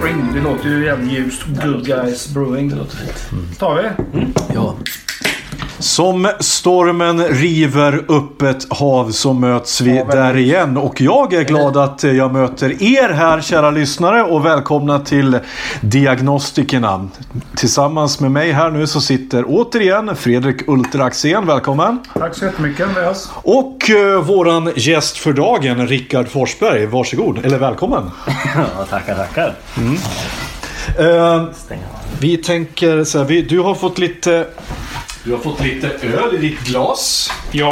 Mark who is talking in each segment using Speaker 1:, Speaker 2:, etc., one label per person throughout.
Speaker 1: Spring, det låter ju jävligt ljust. Good guys brewing. Mm. tar vi.
Speaker 2: Ja.
Speaker 3: Som stormen river upp ett hav så möts vi
Speaker 1: Ja, verkligen.
Speaker 3: där igen. Och jag är glad att eh, jag möter er här kära lyssnare och välkomna till Diagnostikerna. Tillsammans med mig här nu så sitter återigen Fredrik Ulter Axén. Välkommen!
Speaker 1: Tack så jättemycket Andreas.
Speaker 3: Och eh, våran gäst för dagen, Rickard Forsberg. Varsågod, eller välkommen!
Speaker 2: ja, tackar, tackar.
Speaker 3: Eh,
Speaker 2: Stäng av.
Speaker 3: vi tänker så här, vi, du har fått lite... Du har fått lite öl i ditt glas.
Speaker 1: Ja.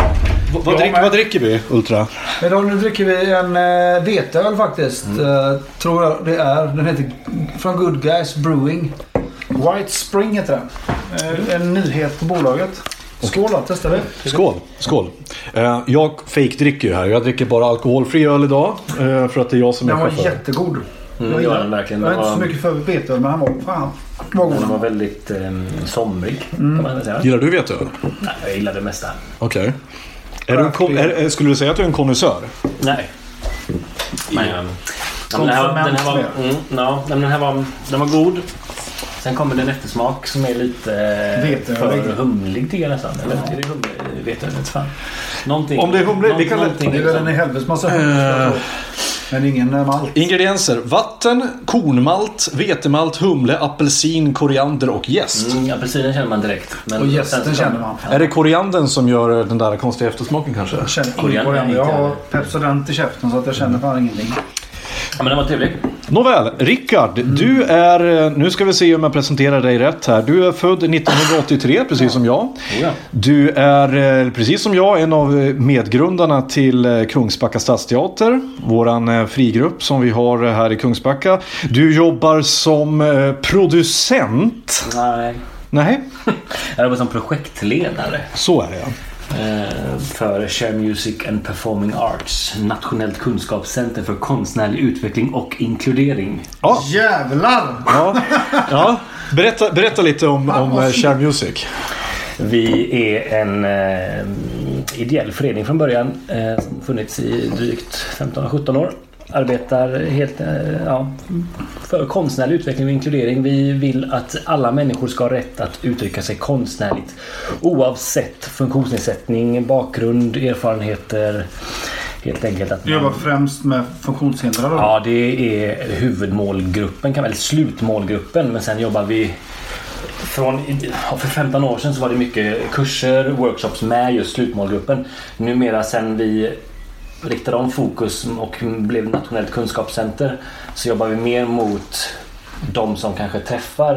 Speaker 3: V- vad,
Speaker 1: Ja,
Speaker 3: drick,
Speaker 1: men-
Speaker 3: vad dricker vi, Ultra?
Speaker 1: Idag nu dricker vi en eh, veteöl faktiskt.
Speaker 2: Mm.
Speaker 1: Eh, tror jag det är. Den heter från Good Guys Brewing. White Spring heter den. Eh, en nyhet på bolaget.
Speaker 2: Mm.
Speaker 1: Skål då, testar vi.
Speaker 3: Skål! Skål! Eh, jag fejkdricker ju här. Jag dricker bara alkoholfri öl idag. eh, för att det är jag som är
Speaker 1: Den var
Speaker 3: chaufför.
Speaker 1: jättegod.
Speaker 2: Mm,
Speaker 1: jag
Speaker 2: det var
Speaker 1: gillar
Speaker 2: den verkligen.
Speaker 1: Jag är
Speaker 2: Den
Speaker 1: inte så
Speaker 2: var-
Speaker 1: mycket för veteöl men han var fan. Den var
Speaker 2: Den
Speaker 1: god.
Speaker 2: var väldigt eh, somrig, kan man säga.
Speaker 3: Gillar du veteöl?
Speaker 2: Nej, jag gillar det mesta.
Speaker 3: Okej. Är du en kom- är- är- Skulle du säga att du är en konnässör?
Speaker 2: Nej. Men, ja. Ja, men den, här, den, här var, mm, ja, men den här var Den var god. Sen kommer det en eftersmak som är lite eh,
Speaker 1: Veteölig.
Speaker 2: för humlig tycker jag nästan. Eller är det humlig? Vet jag inte. Fan. Någonting.
Speaker 3: Om det är humlig,
Speaker 2: någon-
Speaker 3: vi kan väl-
Speaker 2: någonting
Speaker 1: Det är väl en
Speaker 2: liksom.
Speaker 1: helvetes massa humle. Men ingen eh, malt.
Speaker 3: Ingredienser. Vatten, kornmalt, vetemalt, humle, apelsin, koriander och jäst.
Speaker 2: Mm, Apelsinen känner man direkt. Men
Speaker 1: Och
Speaker 2: sen så
Speaker 1: gästen
Speaker 2: kommer-
Speaker 1: känner man.
Speaker 3: Mm. Är det koriandern som gör den där konstiga eftersmaken kanske?
Speaker 1: Jag känner
Speaker 2: Koriander
Speaker 1: koriander.
Speaker 2: är
Speaker 1: Jag
Speaker 2: inte-
Speaker 1: har Pepsodent i käften så att jag känner fan ingenting.
Speaker 2: Ja, men den var trevlig.
Speaker 3: Nåväl, Rickard.
Speaker 1: Mm.
Speaker 3: Du är, eh, nu ska vi se om jag presenterar dig rätt här. Du är född 1983, precis som jag.
Speaker 2: Jo, Oh ja.
Speaker 3: Du är, eh, precis som jag, en av eh, medgrundarna till eh, Kungsbacka Stadsteater. Våran eh, frigrupp som vi har eh, här i Kungsbacka. Du jobbar som eh, producent.
Speaker 2: Nej.
Speaker 3: Nej,
Speaker 2: Jag jobbar som projektledare
Speaker 3: så är det. ja.
Speaker 2: eh, för Share Music and Performing Arts, Nationellt kunskapscenter för konstnärlig utveckling och inkludering.
Speaker 3: Ja,
Speaker 1: Jävlar!
Speaker 3: ja, ja. Berätta, berätta lite om, om eh, Share Music.
Speaker 2: Vi är en eh, ideell förening från början eh, som funnits i drygt 15-17 år. Arbetar helt eh, ja, för konstnärlig utveckling och inkludering. Vi vill att alla människor ska ha rätt att uttrycka sig konstnärligt oavsett funktionsnedsättning, bakgrund, erfarenheter. Helt enkelt att
Speaker 1: Du jobbar främst med funktionshindrade då?
Speaker 2: Ja, det är huvudmålgruppen, kan väl slutmålgruppen, men sen jobbar vi från, ja, för 15 år sedan så var det mycket kurser, workshops med just slutmålgruppen. Numera sen vi riktade om fokus och blev nationellt kunskapscenter så jobbar vi mer mot de som kanske träffar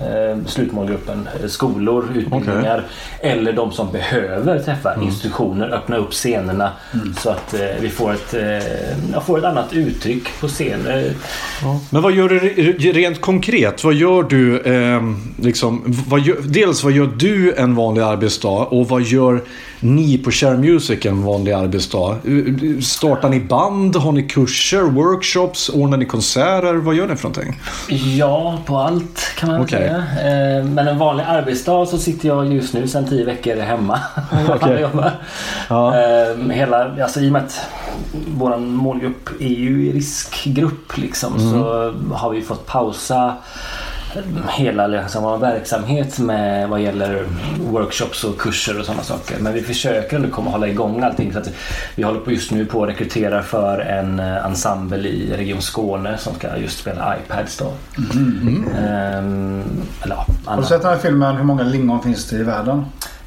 Speaker 2: eh, slutmålgruppen, eh, skolor, utbildningar eller de som behöver träffa institutioner, öppna upp scenerna så att eh, vi får ett, eh, ja, får ett annat uttryck på eh, scenen.
Speaker 3: Men vad gör du re- rent konkret? Vad gör du? Eh, liksom, vad gör, dels vad gör du en vanlig arbetsdag och vad gör ni på Share Music en vanlig arbetsdag? Eh, Startar ni band? Har ni kurser? Workshops? Ordnar ni konserter? Vad gör ni för någonting?
Speaker 2: Ja, på allt kan man väl
Speaker 3: Okej.
Speaker 2: säga. Eh, Men en vanlig arbetsdag så sitter jag just nu sedan tio veckor hemma.
Speaker 3: Okej.
Speaker 2: Jag jobbar.
Speaker 3: Ja.
Speaker 2: Eh, Hela, alltså, I och med att vår målgrupp är ju i riskgrupp liksom,
Speaker 3: Mm.
Speaker 2: så har vi fått pausa hela liksom, vår verksamhet med vad gäller workshops och kurser och sådana saker. Men vi försöker ändå komma hålla igång allting. Så att vi håller på just nu på att rekrytera för en eh, ensemble i Region Skåne som ska just spela iPads. Då. Ehm, eller, ja,
Speaker 1: Har du
Speaker 2: annat.
Speaker 1: sett den här filmen Hur många lingon finns det i världen?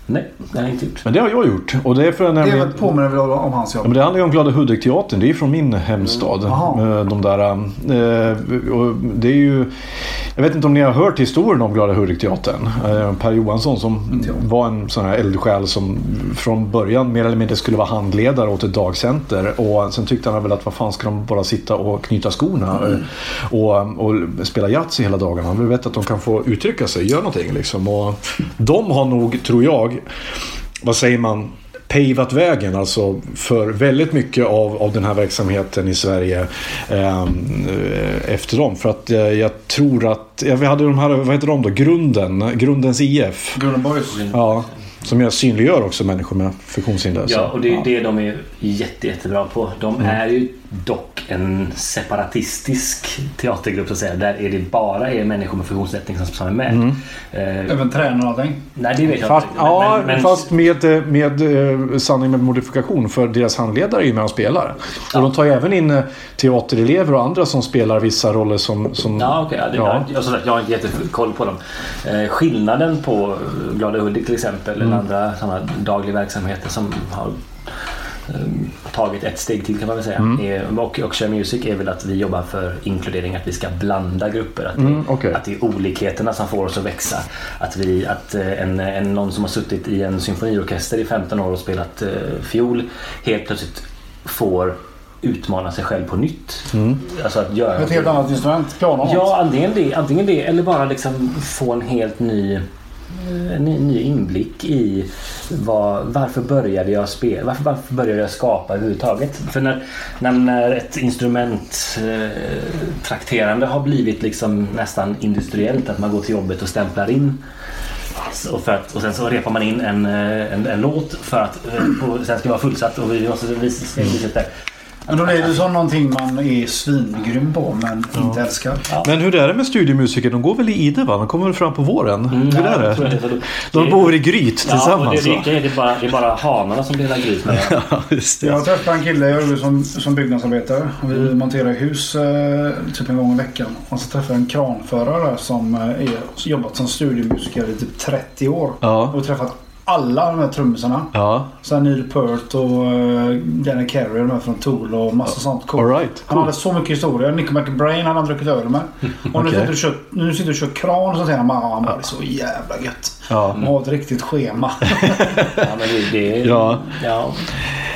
Speaker 2: Nej, det har jag inte gjort.
Speaker 3: Men det har jag gjort. Och det är för
Speaker 1: Det är
Speaker 3: nämligen...
Speaker 1: väl påminner väl om hans
Speaker 3: Ja, men
Speaker 1: jobb.
Speaker 3: det handlar ju om Glada Hudik-teatern. Det är ju från min hemstad.
Speaker 1: Jaha.
Speaker 3: Eh, De där, eh, och det är ju, jag vet inte om ni har hört historien om Glada Hudik-teatern. Eh, Per Johansson som
Speaker 1: Inte jag.
Speaker 3: var en sån här eldsjäl som från början mer eller mindre skulle vara handledare åt ett dagcenter. Och sen tyckte han väl att vad fan ska de bara sitta och knyta skorna eh, och, och spela Yatzy hela dagarna. Han vill veta att de kan få uttrycka sig, göra någonting liksom. Och de har nog, tror jag, vad säger man, pavat vägen alltså för väldigt mycket av, av den här verksamheten i Sverige ehm, eh, efter dem. För att eh, jag tror att, ja, vi hade de här, vad heter de då, Grunden, Grundens IF.
Speaker 1: Golden Boys.
Speaker 2: Mm.
Speaker 3: Ja, som jag synliggör också människor med funktionshinder. så-
Speaker 2: Ja, och det är det de är jätte, jättebra på. De är ju dock en separatistisk teatergrupp så att säga. Där är det bara är människor med funktionsnedsättning som- som är med. Eh,
Speaker 1: Även tränare och allting.
Speaker 2: nej, det vet jag
Speaker 3: Fast,
Speaker 2: inte.
Speaker 3: ja, fast med, eh, med eh, sanning med modifikation för deras handledare är ju med och spelar. Och de tar ju även in eh, teaterelever och andra som spelar vissa roller som... som
Speaker 2: Ja, okej. ja, det-
Speaker 3: Ja.
Speaker 2: Jag, som sagt, jag har inte jättekoll på dem. Eh, skillnaden på eh, Glada Hudik till exempel
Speaker 3: Mm.
Speaker 2: eller andra sådana dagliga verksamheter som har ehm, tagit ett steg till kan man väl säga.
Speaker 3: Mm.
Speaker 2: Är, och, och Share Music är väl att vi jobbar för inkludering, att vi ska blanda grupper. Att,
Speaker 3: Mm,
Speaker 2: det,
Speaker 3: okej.
Speaker 2: att det är olikheterna som får oss att växa. Att, vi, att eh, en, en, någon som har suttit i en symfoniorkester i 15 år och spelat eh, fiol helt plötsligt får utmana sig själv på nytt.
Speaker 3: Mm.
Speaker 2: Alltså att göra
Speaker 1: Ett helt annat instrument. Piano.
Speaker 2: Ja, antingen det, antingen det eller bara liksom få en helt ny, eh, en ny, ny inblick i vad, varför började jag spela? Varför, varför började jag skapa överhuvudtaget? För när, när, när ett instrument eh, trakterande har blivit liksom nästan industriellt, att man går till jobbet och stämplar in och, för att, och sen så repar man in en, eh, en, en låt för att eh, och sen ska det vara fullsatt och vi måste visa visa det.
Speaker 1: Men då blir det som någonting man är svingrym på men inte älskar.
Speaker 3: Men hur är det med studiemusiker? De går väl i ide va? De kommer väl fram på våren? hur är
Speaker 2: Mm, jag tror
Speaker 3: det?
Speaker 2: att det är så-
Speaker 3: De bor i Gryt
Speaker 2: Ja, och det,
Speaker 3: tillsammans
Speaker 2: det,
Speaker 3: va?
Speaker 2: det, är bara, det är bara hanarna som delar gris med varandra.
Speaker 3: Ja, just det.
Speaker 1: Jag träffade en kille jag jobbade som, som byggnadsarbetare. Vi
Speaker 3: Mm.
Speaker 1: monterade hus eh, typ en gång i veckan. Och så träffade jag en kranförare som eh, är, jobbat som studiemusiker i typ 30 år.
Speaker 3: Ja.
Speaker 1: Och träffat alla de här trummisarna.
Speaker 3: Ja,
Speaker 1: Så Neil Peart och uh, Danny Carey de här från Tool och massa sånt
Speaker 3: all right.
Speaker 1: Han hade så mycket historia. Nico McBrain hade han druckit öl med. Och nu,
Speaker 3: Okej.
Speaker 1: sitter du och kör, nu sitter du och kör kran och sånt här. Man, man, det är så jävla gött.
Speaker 3: Ja.
Speaker 1: Man har ett riktigt schema.
Speaker 2: Ja, men det, det,
Speaker 3: Ja.
Speaker 2: ja.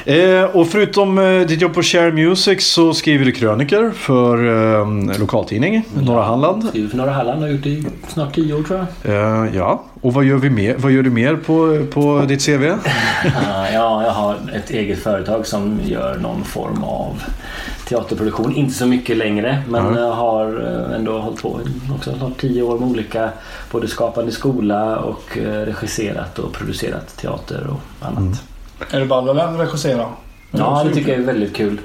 Speaker 3: Eh, och förutom eh, ditt jobb på Share Music så skriver du kröniker för eh, lokaltidning Norra Halland.
Speaker 2: Du för Norra Halland har gjort det i snart tio år tror jag.
Speaker 3: Eh, ja, och vad gör, vi mer? vad gör du mer på, på ditt CV?
Speaker 2: Ah, Ja, jag har ett eget företag som gör någon form av teaterproduktion. Inte så mycket längre men
Speaker 3: Ja.
Speaker 2: jag har eh, ändå hållit på i också snart tio år med olika både skapande skola och eh, regisserat och producerat teater och annat.
Speaker 1: är det ball eller regissera?
Speaker 2: Ja, det tycker jag är väldigt kul.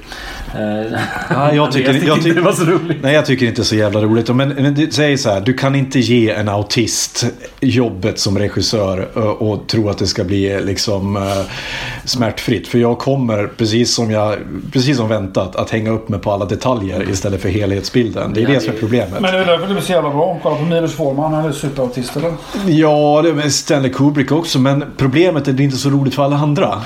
Speaker 2: Eh,
Speaker 3: Ja, jag tycker-
Speaker 2: Andreas
Speaker 3: jag tycker-
Speaker 2: det var så roligt.
Speaker 3: Nej, jag tycker inte det är så jävla roligt. Men, men du säger så här, du kan inte ge en autist jobbet som regissör ö, och tro att det ska bli eh, liksom eh, smärtfritt. För jag kommer, precis som, jag, precis som väntat, att hänga upp mig på alla detaljer istället för helhetsbilden. Det är
Speaker 2: Ja,
Speaker 3: det som är
Speaker 2: det-
Speaker 3: problemet.
Speaker 1: Men det är därför det blir så jävla bra. Kolla på Milos Forman. Han är superautist eller?
Speaker 3: Ja, det är Stanley Kubrick också. Men problemet är att det är inte så roligt för alla andra.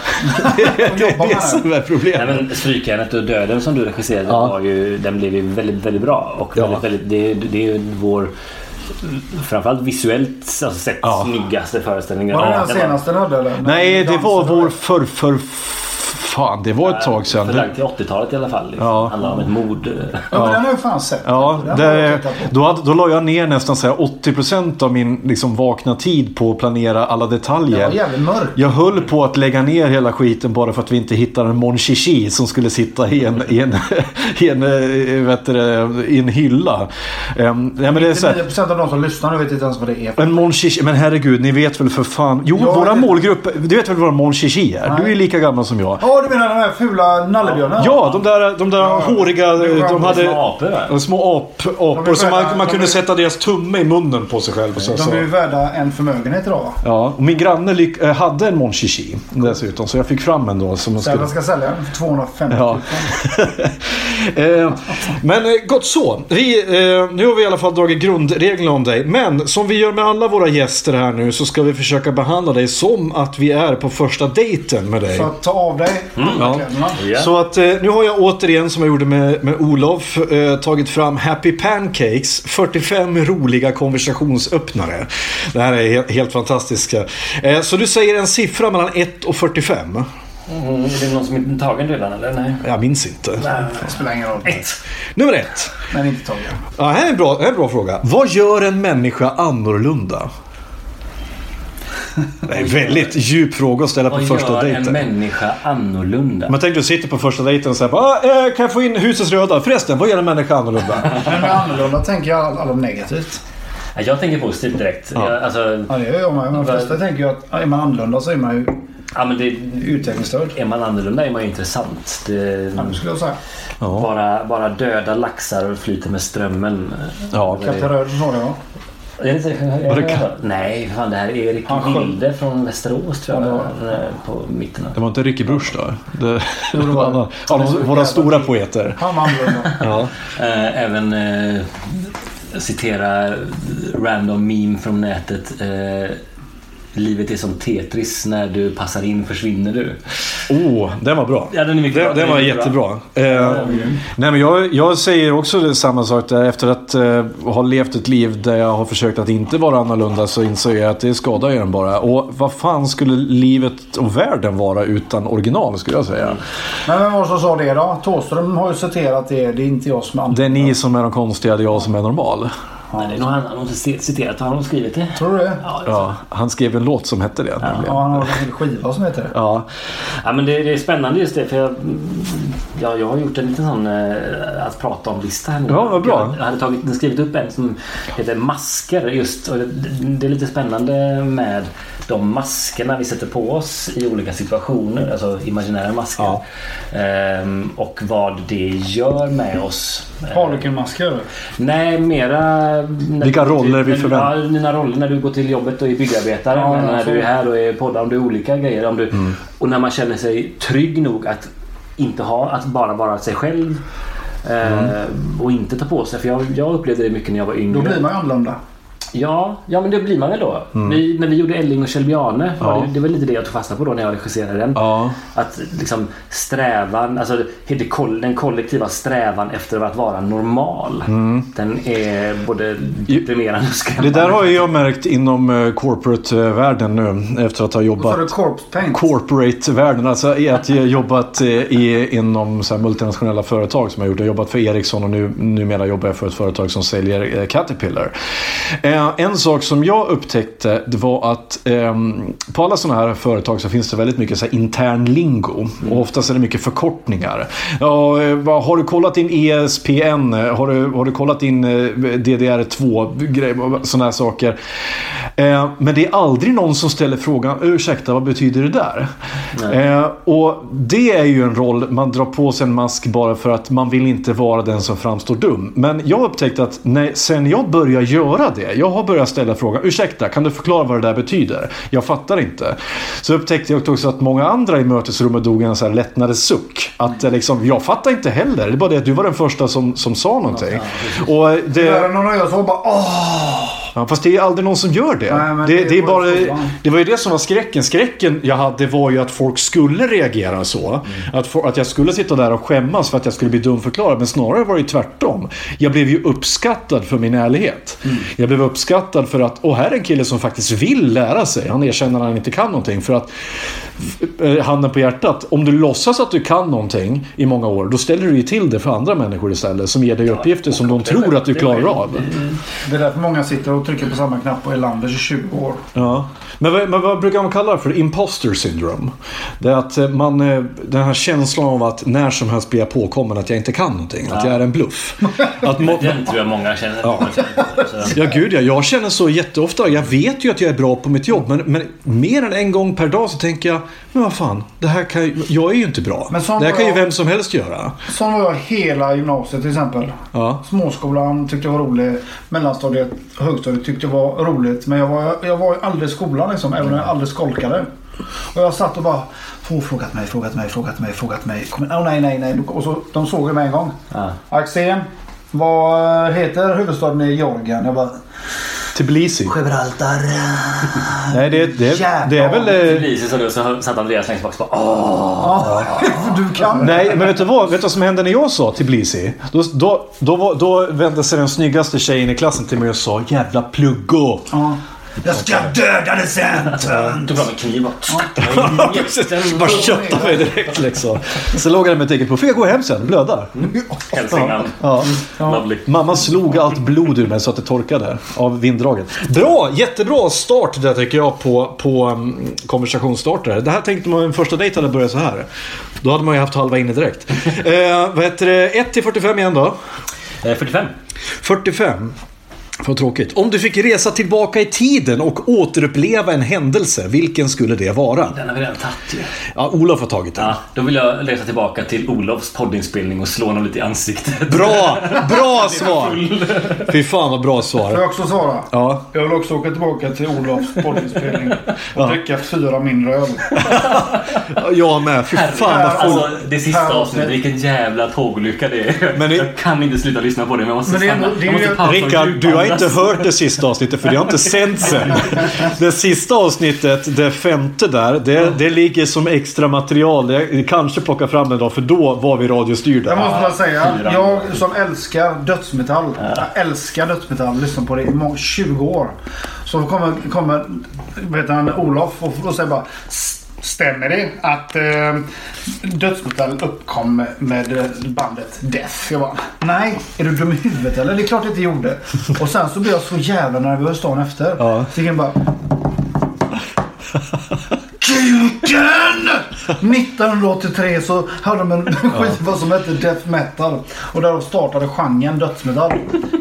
Speaker 3: det är
Speaker 1: jobbar
Speaker 3: det
Speaker 1: med.
Speaker 3: som är problemet.
Speaker 2: Nej, men Strykjärnet och Döden som du regisserade
Speaker 3: Ja.
Speaker 2: var ju, den blev ju väldigt, väldigt bra. Och
Speaker 3: Ja.
Speaker 2: väldigt, väldigt, det, är- det är ju vår framförallt visuellt alltså, sett
Speaker 3: Ja.
Speaker 2: snyggaste föreställningen.
Speaker 1: Var det
Speaker 2: Ja,
Speaker 1: den
Speaker 2: den var-
Speaker 1: senaste ni hade eller?
Speaker 3: Nej, det var
Speaker 1: dansen,
Speaker 3: vår för, för Fan, det var ett tag sedan.
Speaker 2: Förlagd till 80-talet i alla fall. Liksom.
Speaker 3: Ja.
Speaker 2: Handlar om ett mord.
Speaker 1: Ja, men den har jag fan sett.
Speaker 3: Ja,
Speaker 1: Den har jag
Speaker 3: det,
Speaker 1: tittat på.
Speaker 3: då, hade, då la jag ner nästan så här 80% av min liksom, vakna tid på att planera alla
Speaker 1: Den
Speaker 3: detaljer.
Speaker 1: var jävligt mörk.
Speaker 3: Jag höll på att lägga ner hela skiten bara för att vi inte hittade en Mon Chichi som skulle sitta i en, i en, i en, eh, vet du, det, i en hylla. Ehm, nej, men det är så här,
Speaker 1: 99% av de som lyssnar nu vet inte ens vad det är.
Speaker 3: en Mon Chichi, men herregud, ni vet väl för fan. Jo,
Speaker 1: Ja,
Speaker 3: våra
Speaker 1: det-
Speaker 3: målgrupp, du vet väl vad en Mon Chichi är? Du är lika gammal som jag.
Speaker 1: Ja, Ja, du menar de här fula nallebjörnarna?
Speaker 3: Ja, de där, de där håriga...
Speaker 1: Det var
Speaker 3: De
Speaker 1: de
Speaker 3: hade
Speaker 2: Små apor va?
Speaker 3: de små ap, apor
Speaker 1: blev
Speaker 3: som
Speaker 1: sköna.
Speaker 3: man, man
Speaker 1: De
Speaker 3: kunde
Speaker 1: blev-
Speaker 3: sätta deras tumme i munnen på sig själv. Och så,
Speaker 1: De
Speaker 3: så.
Speaker 1: blir ju värda en förmögenhet idag va?
Speaker 3: Ja, och min granne lik, eh, hade en Mon Chichi dessutom, så jag fick fram en då. Som hon
Speaker 1: Sälen
Speaker 3: skulle...
Speaker 1: ska sälja den för 250
Speaker 3: Ja.
Speaker 1: tusen.
Speaker 3: eh, men eh, gott så. Vi, eh, nu har vi i alla fall dragit grundreglerna om dig. Men som vi gör med alla våra gäster här nu så ska vi försöka behandla dig som att vi är på första dejten med dig.
Speaker 1: Så att ta av dig
Speaker 3: Mm, ja.
Speaker 1: alla kläderna.
Speaker 2: Ja.
Speaker 3: Så att eh, nu har jag återigen som jag gjorde med, med Olof eh, tagit fram Happy Pancakes 45 roliga konversationsöppnare. Det här är helt, helt fantastiska. Eh, så du säger en siffra mellan 1 och 45.
Speaker 2: Mm, är det någon som inte är tagen redan eller? Nej.
Speaker 3: Jag minns inte.
Speaker 1: Det spelar ingen roll.
Speaker 3: Nummer 1.
Speaker 1: Men inte Tobbe.
Speaker 3: Ja, här är en bra, här är en bra fråga. Vad gör en människa annorlunda? Det är en väldigt djup fråga att ställa på
Speaker 2: Vad
Speaker 3: första
Speaker 2: gör en
Speaker 3: dejten.
Speaker 2: människa annorlunda?
Speaker 3: Men tänk du sitter på första dejten och säger ah, eh, Kan jag få in husets röda? Förresten, vad gör en människa annorlunda?
Speaker 1: Men med annorlunda tänker jag all- alla negativt.
Speaker 2: Ja, Jag tänker positivt direkt.
Speaker 3: Ja.
Speaker 2: Jag, alltså,
Speaker 1: Ja, det gör jag med. Men de flesta tänker ju att är man annorlunda så är man ju
Speaker 2: ja, men det,
Speaker 1: utvecklingsstörd.
Speaker 2: är man annorlunda är man ju intressant. Det,
Speaker 1: Ja, det skulle jag säga.
Speaker 3: Ja.
Speaker 2: bara, bara döda laxar och flyter med strömmen.
Speaker 3: Ja.
Speaker 1: Kapten Röd sa det ja.
Speaker 2: Är det inte,
Speaker 3: Var det Ka-
Speaker 2: Nej, fan det här är Erik
Speaker 1: Han sjöng.
Speaker 2: Wilde från Västerås tror jag. eh, På mitten av.
Speaker 3: Det var inte Ricky Bruch då? Det, det
Speaker 1: var det.
Speaker 3: var ja, de, våra stora poeter.
Speaker 1: Han var annorlunda.
Speaker 3: Ja.
Speaker 2: Eh, Även eh, citera random meme från nätet. Eh, Livet är som Tetris, när du passar in försvinner du.
Speaker 3: Oh, den var bra.
Speaker 2: Ja, den är mycket
Speaker 3: Den,
Speaker 2: bra.
Speaker 3: den var
Speaker 2: Den är mycket
Speaker 3: jättebra. Eh, nej, men jag, jag säger också det- samma sak där. Efter att eh, ha levt ett liv där jag har försökt att inte vara annorlunda så inser jag att det skadar ju en bara. Och vad fan skulle livet och världen vara utan original skulle jag
Speaker 2: Mm.
Speaker 3: säga.
Speaker 1: Men vem var det som sa det då? Thåström har ju citerat det. Det är inte jag som är
Speaker 3: Det är
Speaker 1: annorlunda.
Speaker 3: ni som är de konstiga, det är jag som är normal.
Speaker 2: Nej, det är nog han, han har inte citerat, han har skrivit det.
Speaker 1: Tror du det?
Speaker 2: Ja, ja.
Speaker 3: Ja, han skrev en låt som hette det. nämligen.
Speaker 1: Ja, han har en hel skiva som heter det.
Speaker 3: Ja.
Speaker 2: ja men det, det är spännande just det för jag, ja, jag har gjort en liten sån eh, att prata om-lista här nu.
Speaker 3: Ja, vad bra.
Speaker 2: Jag hade tagit, skrivit upp en som heter masker just och det, det är lite spännande med de maskerna vi sätter på oss i olika situationer, alltså imaginära masker.
Speaker 3: Ja.
Speaker 2: Ehm, och vad det gör med oss.
Speaker 1: Harlekinmasker.
Speaker 2: Nej, mera... när
Speaker 3: Vilka
Speaker 2: du-
Speaker 3: roller vi
Speaker 2: när du-
Speaker 3: förväntar-
Speaker 2: Ja, dina roller när du går till jobbet och är byggarbetare.
Speaker 1: Ja,
Speaker 2: men när
Speaker 1: så.
Speaker 2: du är här och är poddar. Om du är olika grejer. Om du,
Speaker 3: Mm.
Speaker 2: Och när man känner sig trygg nog att inte ha, att bara vara sig själv. Eh,
Speaker 3: Mm.
Speaker 2: och inte ta på sig. För jag, jag upplevde det mycket när jag var yngre.
Speaker 1: Då blir man ju annorlunda.
Speaker 2: Ja, ja men det blir man väl då. Vi, när vi gjorde Elling och Kjell Bjarne. var
Speaker 3: Mm. Ja.
Speaker 2: Det, det var lite det jag tog fasta på då när jag regisserade den.
Speaker 3: Ja.
Speaker 2: Att liksom strävan, alltså det, koll- den kollektiva strävan efter att vara normal. Den är både deprimerande och
Speaker 3: Mm. Det
Speaker 2: skrämmande.
Speaker 3: där har ju jag märkt inom eh, corporate-världen nu eh, efter att ha
Speaker 1: Vad
Speaker 3: jobbat
Speaker 1: sa du? Corpse paint?
Speaker 3: corporate-världen. Alltså i att jag jobbat eh, i, inom så här multinationella företag som jag gjort. Jag har jobbat för Ericsson och nu, numera jobbar jag för ett företag som säljer eh, Caterpillar. Eh, en sak som jag upptäckte det var att ehm, på alla sådana här företag så finns det väldigt mycket så här intern lingo. Och oftast är det mycket förkortningar. Ja, eh, vad- har du kollat E in ESPN? Har du, har du kollat in eh, DDR2? Grejer, sådana här saker. Eh, men det är aldrig någon som ställer frågan ursäkta vad betyder det där? Eh, och det är ju en roll man drar på sig en mask bara för att man vill inte vara den som framstår dum. Men jag upptäckte att när, sen jag började göra det. Jag har börjat ställa frågan ursäkta kan du förklara vad det där betyder? Jag fattar inte. Så upptäckte jag också att många andra i mötesrummet dog en så här lättnadens suck. Att eh, liksom, jag fattar inte heller. Det är bara det att du var den första som, som sa någonting. Och det,
Speaker 1: Där är någon av er som bara åh!
Speaker 3: Ja, fast det är ju aldrig någon som gör det.
Speaker 1: Nej, men
Speaker 3: det, det,
Speaker 1: det
Speaker 3: är
Speaker 1: går
Speaker 3: bara,
Speaker 1: ju så bra.
Speaker 3: det var ju det som var skräcken. Skräcken jag hade var ju att folk skulle reagera så. Att, for, att jag skulle sitta där och skämmas för att jag skulle bli dumförklarad. Men snarare var det ju tvärtom. Jag blev ju uppskattad för min ärlighet. Jag blev uppskattad för att, åh här är en kille som faktiskt vill lära sig. Han erkänner att han inte kan någonting. För att, eh, handen på hjärtat. Om du låtsas att du kan någonting i många år, då ställer du ju till det för andra människor istället. Som ger dig uppgifter som de tror att du klarar av.
Speaker 1: Det är därför många sitter och och trycker på samma knapp och är Landers i 20 år.
Speaker 3: Ja. Men, vad, men vad brukar man kalla det för? Imposter syndrome. Det är att eh, man, eh, den här känslan av att när som helst blir jag påkommen att jag inte kan någonting. Att jag är en bluff. Att må-
Speaker 2: Den tror jag många känner. Så-
Speaker 3: Ja gud ja, jag känner så jätteofta. Jag vet ju att jag är bra på mitt jobb. Men, men mer än en gång per dag så tänker jag, men vad fan, det här kan, ju- jag är ju inte bra.
Speaker 1: Men sån
Speaker 3: det här kan ju
Speaker 1: var jag.
Speaker 3: vem som helst göra.
Speaker 1: Sån var jag hela gymnasiet till exempel.
Speaker 3: Ja.
Speaker 1: Småskolan tyckte jag var rolig. Mellanstadiet och högstadiet tyckte jag var roligt. Men jag var, jag var ju aldrig i skolan liksom. Även om jag aldrig skolkade. Och jag satt och bara. Få frågat mig, frågat mig, frågat mig, frågat mig. Kom, oh, nej, nej, nej. Och så, de såg ju mig en gång.
Speaker 2: Ja.
Speaker 1: Axén. Vad heter huvudstaden i Georgien? Jag bara.
Speaker 3: Tbilisi.
Speaker 1: Gibraltar.
Speaker 3: Nej, det, det, det är väl... eh,
Speaker 2: Tbilisi sa du så satt Andreas längst bak och bara "Ah, åh.
Speaker 1: Ja, du kan.
Speaker 3: Nej, men vet du, vad, vet du vad som hände när jag sa Tbilisi? Då, då, då, var- då vände sig den snyggaste tjejen i klassen till mig och sa jävla pluggo.
Speaker 1: Ja. Jag ska döda dig sen. tönt.
Speaker 2: Tog fram en kniv och
Speaker 3: Precis, Bara köttade mig direkt liksom. Så låg jag med ett eget på. Får jag gå hem sen? Blödar.
Speaker 2: Hälsningar.
Speaker 3: Ja.
Speaker 2: Lovely.
Speaker 3: Mamma slog allt blod ur mig så att det torkade av vinddraget. Bra! Jättebra start där tycker jag på, på um, konversationsstartare. Det här tänkte man en första dejt hade börjat så här. Då hade man ju haft halva inne direkt. eh, vad heter det? 1 till 45 igen då.
Speaker 2: Eh, 45.
Speaker 3: 45. Vad tråkigt. Om du fick resa tillbaka i tiden och återuppleva en händelse, vilken skulle det vara?
Speaker 2: Den har vi redan tagit ju.
Speaker 3: Ja, Olof har tagit den.
Speaker 2: Ja, då vill jag resa tillbaka till Olofs poddinspelning och slå honom lite i ansiktet.
Speaker 3: Bra! Bra svar! Fy fan vad bra
Speaker 1: Får
Speaker 3: svar.
Speaker 1: jag också svara?
Speaker 3: Ja.
Speaker 1: Jag vill också åka tillbaka till Olofs poddinspelning och dricka fyra mindre öl.
Speaker 3: Jag med. Fy fan vad
Speaker 1: Herregud.
Speaker 3: folk...
Speaker 2: Alltså det sista
Speaker 1: Herregud.
Speaker 2: avsnittet, vilken jävla tågolycka det är.
Speaker 3: Men det-
Speaker 2: Jag kan inte sluta lyssna på det men jag måste
Speaker 1: Men det är-
Speaker 2: stanna.
Speaker 1: det är
Speaker 2: Jag måste
Speaker 1: ju-
Speaker 2: pausa och
Speaker 3: Rickard, du har inte
Speaker 2: djupandas.
Speaker 3: hört det sista avsnittet för det har inte sänts än. Det sista avsnittet, det femte där, det, det ligger som extra material. Jag kanske plockar fram det då, för då var vi
Speaker 1: Jag
Speaker 3: radiostyrda.
Speaker 1: måste bara säga,
Speaker 2: fyra.
Speaker 1: jag som älskar dödsmetall. Jag älskar dödsmetall. Lyssnar på det i må- 20 år. Så kommer, kommer vet han, Olof och, och säger bara "S- Stämmer det att eh, dödsmetall uppkom med eh, bandet Death? Jag bara, nej, är du dum i huvudet eller? Det är klart det inte gjorde. Och sen så blev jag så jävla nervös dagen efter.
Speaker 3: Ja.
Speaker 1: Så gick jag bara Kuken! 1983 så hade de en skiva som hette Death Metal. Och där startade genren dödsmetall.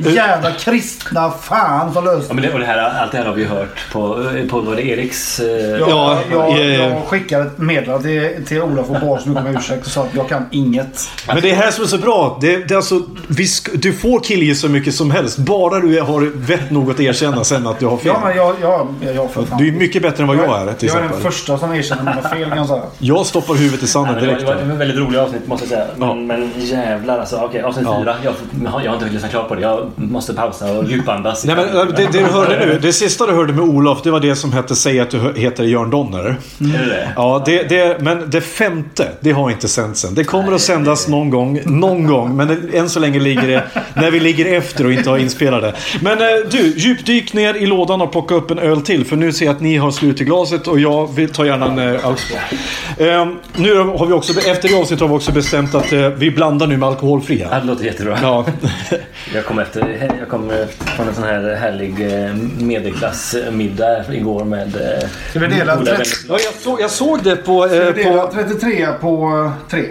Speaker 1: Jävla kristna fan som
Speaker 2: Ja,
Speaker 1: löste
Speaker 2: men det, och det här, allt det här har vi hört på, på var det Eriks... Eh,
Speaker 1: jag,
Speaker 3: Ja,
Speaker 1: jag,
Speaker 3: ja, ja.
Speaker 1: jag skickade ett meddelande till, till Olof och bad så mycket om ursäkt och sa att jag kan inget.
Speaker 3: Men det är här som är så bra. Det, det är alltså, vi sk- du får killgissa så mycket som helst, bara du har vett nog att erkänna sen att du har fel.
Speaker 1: Ja, men jag, jag, jag, jag för fan.
Speaker 3: Du är mycket bättre än vad jag är till
Speaker 1: jag är den
Speaker 3: exempel. Eh,
Speaker 1: första som erkänner mina fel kan jag säga.
Speaker 3: Jag stoppar huvudet i
Speaker 2: Nej,
Speaker 3: sanden
Speaker 2: men det, var,
Speaker 3: direkt.
Speaker 2: det var det var ett väldigt roligt avsnitt måste jag säga. Men,
Speaker 3: Ja.
Speaker 2: men jävlar alltså. Okej, avsnitt
Speaker 3: Ja.
Speaker 2: fyra. Jag, jag har inte hunnit lyssna klart på det. Jag måste pausa och djupandas.
Speaker 3: Nej, men eh, äh, det, det du hörde nu, det sista du hörde med Olof, det var det som hette Säg att du hö- heter Jörn Donner.
Speaker 2: Är det det?
Speaker 3: Ja, det, det, men det femte, det har inte sänts än. Det kommer att sändas någon gång, någon gång. Men det- än så länge ligger det när vi ligger efter och inte har inspelat det. Men eh, du, djupdyk ner i lådan och plocka upp en öl till. För nu ser jag att ni har slut i glaset och jag vill ta gärna en eh, alkohol. Ehm, nu har vi också, efter det avsnittet har vi också bestämt att eh, vi blandar nu med alkoholfria.
Speaker 2: Ja, Det låter jättebra.
Speaker 3: Ja.
Speaker 2: Jag kom, efter, jag kom eh, från en sån här härlig eh, medelklassmiddag igår med... eh,
Speaker 1: Ska vi dela 30?
Speaker 2: goda vänner.
Speaker 3: Ja, jag, såg, jag såg det på... eh,
Speaker 1: Jag
Speaker 3: på...
Speaker 1: delar 33 på 3.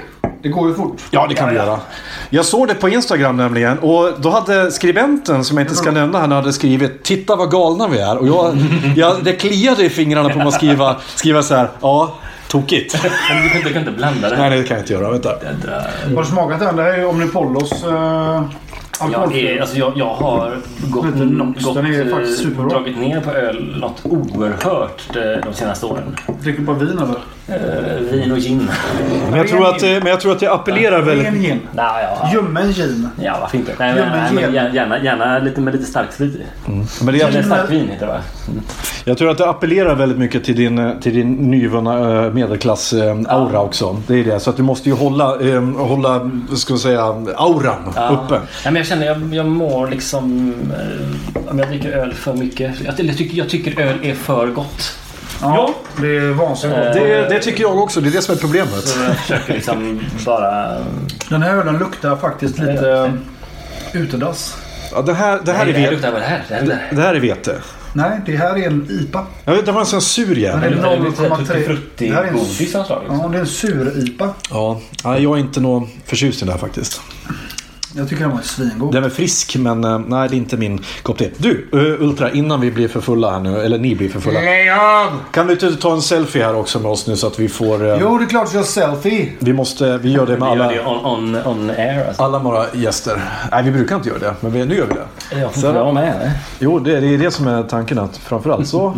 Speaker 1: Det går ju fort.
Speaker 3: Ja, det kan vi göra. Jag såg det på Instagram nämligen och då hade skribenten, som jag inte ska nämna, han hade skrivit “Titta vad galna vi är” och jag, jag, det kliade i fingrarna på att skriva, skriva så här “Ja, tokigt”.
Speaker 2: Men Du kan, du kan inte blanda det
Speaker 3: Nej,
Speaker 2: här.
Speaker 3: nej, det kan jag inte göra. Vänta.
Speaker 2: Jädra-
Speaker 1: Har du smakat den? Det här är ju Omnipollos eh,
Speaker 2: Jag,
Speaker 1: alkoholfri.
Speaker 2: är, alltså jag, jag har gått,
Speaker 1: Lite Nox,
Speaker 2: gått,
Speaker 1: den är
Speaker 2: eh,
Speaker 1: faktiskt superbra.
Speaker 2: dragit ner på öl något oerhört eh, de senaste åren.
Speaker 1: Dricker du bara vin eller?
Speaker 2: Eh, vin och gin.
Speaker 3: Men jag tror att, eh, men jag, tror att jag appellerar
Speaker 1: Ren
Speaker 3: väldigt...
Speaker 1: gin.
Speaker 2: Nej, ja.
Speaker 1: Ljummen gin.
Speaker 2: Ja, varför inte? Nej, men,
Speaker 1: Ja, men
Speaker 2: nej, men
Speaker 1: gärna-
Speaker 2: gärna, gärna, lite med lite starksprit i.
Speaker 3: Men
Speaker 2: Eller
Speaker 3: jag,
Speaker 2: starkvin heter det va?
Speaker 3: jag tror att det appellerar väldigt mycket till din, eh, till din nyvunna eh, medelklass-aura också. Det är det. Så att du måste ju hålla, eh, hålla vad ska man säga, auran
Speaker 2: Ja.
Speaker 3: uppe.
Speaker 2: Nej, men jag känner jag, jag mår liksom... Eh, om jag dricker öl för mycket. Jag, jag, tycker, jag tycker öl är för gott.
Speaker 1: Ja, Eh. det är vansinnigt gott.
Speaker 3: Det, det tycker jag också. Det är det som är problemet.
Speaker 2: Så jag försöker liksom bara...
Speaker 1: Den här ölen luktar faktiskt lite eh, utedass.
Speaker 3: Ja, det här, det här
Speaker 2: Nej,
Speaker 3: är
Speaker 2: det här
Speaker 3: vete.
Speaker 2: luktar vad det här? Det här luktar...
Speaker 3: Det här är vete.
Speaker 1: Nej, det här är en IPA.
Speaker 3: Jag vet, det var en sån sur
Speaker 1: Men
Speaker 3: jävel.
Speaker 2: Det luktar lite
Speaker 1: 0,3. Det här är en-
Speaker 2: tuttifrutti-godis av slag. liksom.
Speaker 1: Ja, det är en sur-IPA.
Speaker 3: Ja, nej, jag är inte någon förtjust i den här faktiskt.
Speaker 1: Jag tycker den var svingod.
Speaker 3: Den är frisk, men eh, nej, det är inte min kopp te. Du, eh, Ultra, innan vi blir för fulla här nu, eller ni blir för fulla.
Speaker 1: Leon!
Speaker 3: Kan du inte ta en selfie här också med oss nu så att vi får... eh,
Speaker 1: Jo, det är klart jag selfie.
Speaker 3: Vi måste, vi gör det med
Speaker 2: Vi gör
Speaker 3: alla,
Speaker 2: det on, on, on air alltså.
Speaker 3: alla våra gäster. Nej, vi brukar inte göra det, men vi, nu gör vi det.
Speaker 2: Jag får
Speaker 3: Så-
Speaker 2: inte vara med eller?
Speaker 3: Jo, det, det är det som är tanken. Att framförallt så.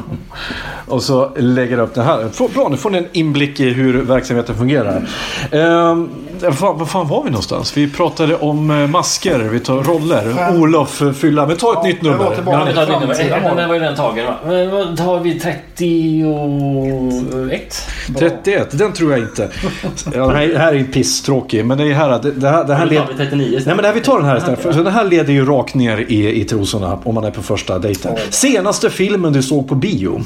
Speaker 3: Och så lägger jag upp det här. Få- Bra, nu får ni en inblick i hur verksamheten fungerar. Ehm, fan, vad fan var vi någonstans? Vi pratade om eh, masker, vi tar roller. Olof, eh, fylla. Men ta ett
Speaker 1: Ja,
Speaker 3: nytt
Speaker 1: jag var
Speaker 3: nummer.
Speaker 1: tillbaka.
Speaker 3: Ja,
Speaker 2: Vi tar ett nytt nummer.
Speaker 1: Framtida
Speaker 2: Eh,
Speaker 1: mål.
Speaker 2: Den var ju den tagen va? Men vad tar vi 31?
Speaker 3: 31, den tror jag inte. Ja, den här, det här är pisstråkig, men det är här att det, det här, det här
Speaker 2: Då
Speaker 3: led...
Speaker 2: tar vi 39
Speaker 3: Nej men det här, vi tar den här istället.
Speaker 2: Ja,
Speaker 3: För den här leder ju rakt ner i, i trosorna om man är på första dejten. Senaste filmen du såg på bio?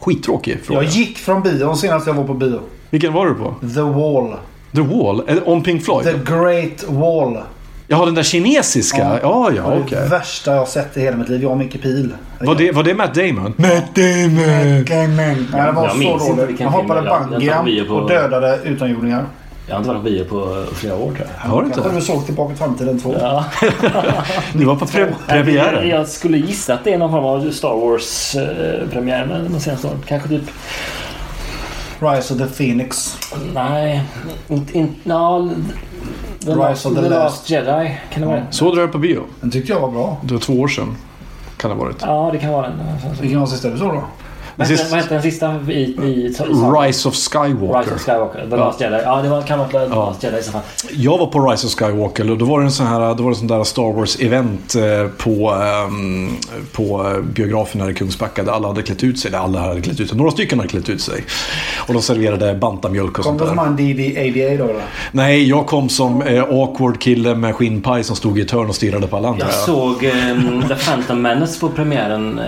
Speaker 3: Skittråkig fråga.
Speaker 1: Jag gick från bion senast jag var på bio.
Speaker 3: Vilken var du på?
Speaker 1: The Wall.
Speaker 3: The Wall? Eller om Pink Floyd?
Speaker 1: The Great Wall.
Speaker 3: Jaha, den där kinesiska? Ja, ja,
Speaker 1: Det är
Speaker 3: okej.
Speaker 1: det värsta jag har sett i hela mitt liv. Jag och Micke Pil.
Speaker 3: Var det, var det Matt Damon? Matt Damon!
Speaker 1: Gaming. Nej, det var
Speaker 2: Jag minns
Speaker 1: så
Speaker 2: inte
Speaker 1: dåligt.
Speaker 2: vilken
Speaker 1: Han hoppade
Speaker 2: film jag- jag såg bio
Speaker 1: bungyjump
Speaker 2: på-
Speaker 1: och dödade utomjordingar.
Speaker 2: Jag har inte varit på bio på flera år tror jag.
Speaker 3: Har du
Speaker 1: Kanske
Speaker 3: inte?
Speaker 1: du såg Tillbaka till framtiden 2.
Speaker 2: Ja.
Speaker 3: Ni var på pre-
Speaker 2: Jag,
Speaker 3: premiären.
Speaker 2: jag skulle gissa att det är någon form av Star Wars-premiär men de senaste åren. Kanske typ...
Speaker 1: Rise of the Phoenix.
Speaker 2: Nej. Inte... In, no, the,
Speaker 1: Rise of the Last.
Speaker 2: Jedi. Kan det vara den?
Speaker 3: Såg du den på bio?
Speaker 1: Den tyckte jag var bra.
Speaker 3: Det var två år sedan. Kan det ha varit.
Speaker 2: Ja, det kan vara den. Vad
Speaker 1: Vilken var sista du såg då?
Speaker 2: hette-
Speaker 3: sist-
Speaker 2: Vad hette den sista? I, i, i, i
Speaker 3: Rise of
Speaker 2: Rise
Speaker 3: Skywalker.
Speaker 2: of Skywalker. The Last Jedi. Ja, det var, kan vara The Last Jedi i så fall.
Speaker 3: Jag var på Rise of Skywalker och då var det en sån här, då var det sån där Star Wars-event eh, på, ehm, på eh, biografen här i Kungsbacka där alla hade klätt ut sig. Där alla hade klätt ut sig. Några stycken hade klätt ut sig. Och de serverade bantamjölk
Speaker 1: Kom
Speaker 3: och sånt
Speaker 1: du som
Speaker 3: där.
Speaker 1: han DD-ADA då? Eller?
Speaker 3: Nej, jag kom som eh, awkward kille med skinnpaj som stod i ett hörn och stirrade på alla andra.
Speaker 2: Jag såg ehm, The Phantom Menace på premiären. eh,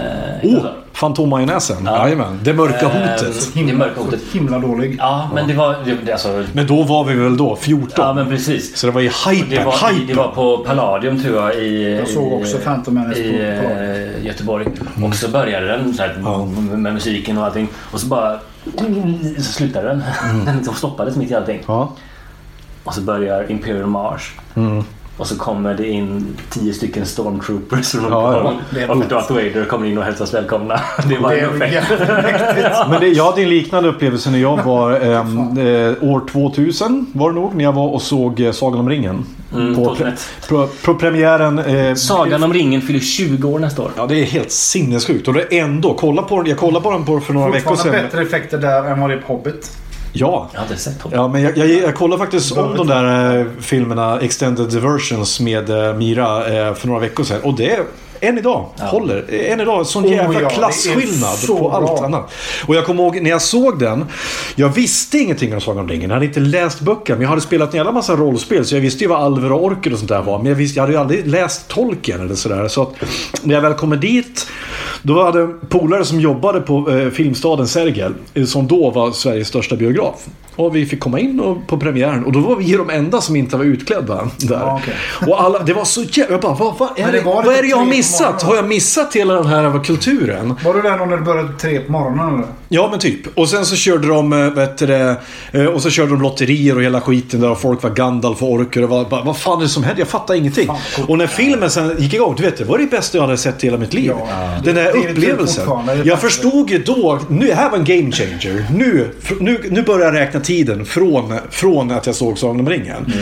Speaker 3: Oh,
Speaker 2: igår.
Speaker 3: Fantommajonäsen. Jajamän. Det mörka hotet.
Speaker 2: Ehm, Det mörka hotet.
Speaker 1: Så himla dålig.
Speaker 2: Ja, men det var... Det, det, alltså,
Speaker 3: Men då var vi väl då 14?
Speaker 2: ja, men precis.
Speaker 3: Så det var i hypen.
Speaker 2: Det var,
Speaker 3: hypen.
Speaker 2: det var på Palladium tror jag i,
Speaker 1: Jag såg också
Speaker 2: i,
Speaker 1: Phantom Menace
Speaker 2: i,
Speaker 1: på Palladium.
Speaker 2: eh, Göteborg. Och så började den så här, med musiken och allting. Och så bara så slutade den. Den
Speaker 1: Mm.
Speaker 2: liksom stoppades mitt i allting.
Speaker 3: Ja.
Speaker 2: Och så börjar Imperial March.
Speaker 1: Mm.
Speaker 2: Och så kommer det in tio stycken stormtroopers från olika
Speaker 3: Ja, ja.
Speaker 2: håll.
Speaker 1: Det är
Speaker 2: Och
Speaker 1: bra.
Speaker 2: Darth Vader kommer in och hälsas välkomna. Det var
Speaker 1: Det
Speaker 2: en
Speaker 1: är
Speaker 2: effekt.
Speaker 1: jättemäktigt.
Speaker 3: Men det, jag hade en liknande upplevelse när jag var ehm, eh, år 2000 var det nog. När jag var och såg eh, Sagan om ringen.
Speaker 2: Mm,
Speaker 3: på,
Speaker 2: 2001.
Speaker 3: på, på premiären. Eh,
Speaker 2: Sagan om ringen fyller 20 år nästa år.
Speaker 3: Ja, det är helt sinnessjukt. Och det är ändå, kolla på den, jag kollade på den på för några veckor
Speaker 1: Fortfarande
Speaker 3: sedan.
Speaker 1: bättre effekter där än vad det är på Hobbit.
Speaker 3: Ja.
Speaker 2: Jag har inte sett honom.
Speaker 3: Ja, men jag, jag, jag kollade faktiskt om de där eh, filmerna, Extended Diversions med eh, Mira eh, för några veckor sedan. Och det är än idag. Håller. Än idag. Sån
Speaker 1: Oh
Speaker 3: jävla
Speaker 1: ja, det är
Speaker 3: klassskillnad
Speaker 1: så
Speaker 3: på allt
Speaker 1: bra.
Speaker 3: annat. Och jag kommer ihåg när jag såg den. Jag visste ingenting om Sagan om ringen. Jag hade inte läst böckerna. Men jag hade spelat en jävla massa rollspel. Så jag visste ju vad alver och orker och sånt där var. Men jag, visste, jag hade ju aldrig läst tolken eller sådär. Så att när jag väl kommer dit. Då hade en polare som jobbade på eh, Filmstaden Sergel. eh, Som då var Sveriges största biograf. Och vi fick komma in och, på premiären. Och då var vi de enda som inte var utklädda där.
Speaker 1: Ja, okej.
Speaker 3: Och alla, det var så jävla... Jag bara, vad, vad är
Speaker 1: Men
Speaker 3: det,
Speaker 1: det var
Speaker 3: vad
Speaker 1: lite
Speaker 3: är det jag har
Speaker 1: tre på
Speaker 3: missat?
Speaker 1: morgonen.
Speaker 3: Har jag missat hela den här kulturen?
Speaker 1: Var du där någon när du började tre på morgonen eller?
Speaker 3: Ja men typ. Och sen så körde de, eh, vet du det, eh, och så körde de lotterier och hela skiten där och folk var Gandalf och orker och var, bara, vad fan är det som händer? Jag fattar ingenting. och när filmen sen gick igång, du vet det var det bästa jag hade sett i hela mitt liv.
Speaker 1: Ja.
Speaker 3: Den
Speaker 1: Det är
Speaker 3: där
Speaker 1: det typ
Speaker 3: upplevelsen.
Speaker 1: fortfarande. Det är
Speaker 3: Jag
Speaker 1: faktiskt-
Speaker 3: förstod ju då, nu, det här var en game changer. Nu, fr- nu, nu börjar jag räkna tiden från, från att jag såg Sagan om ringen.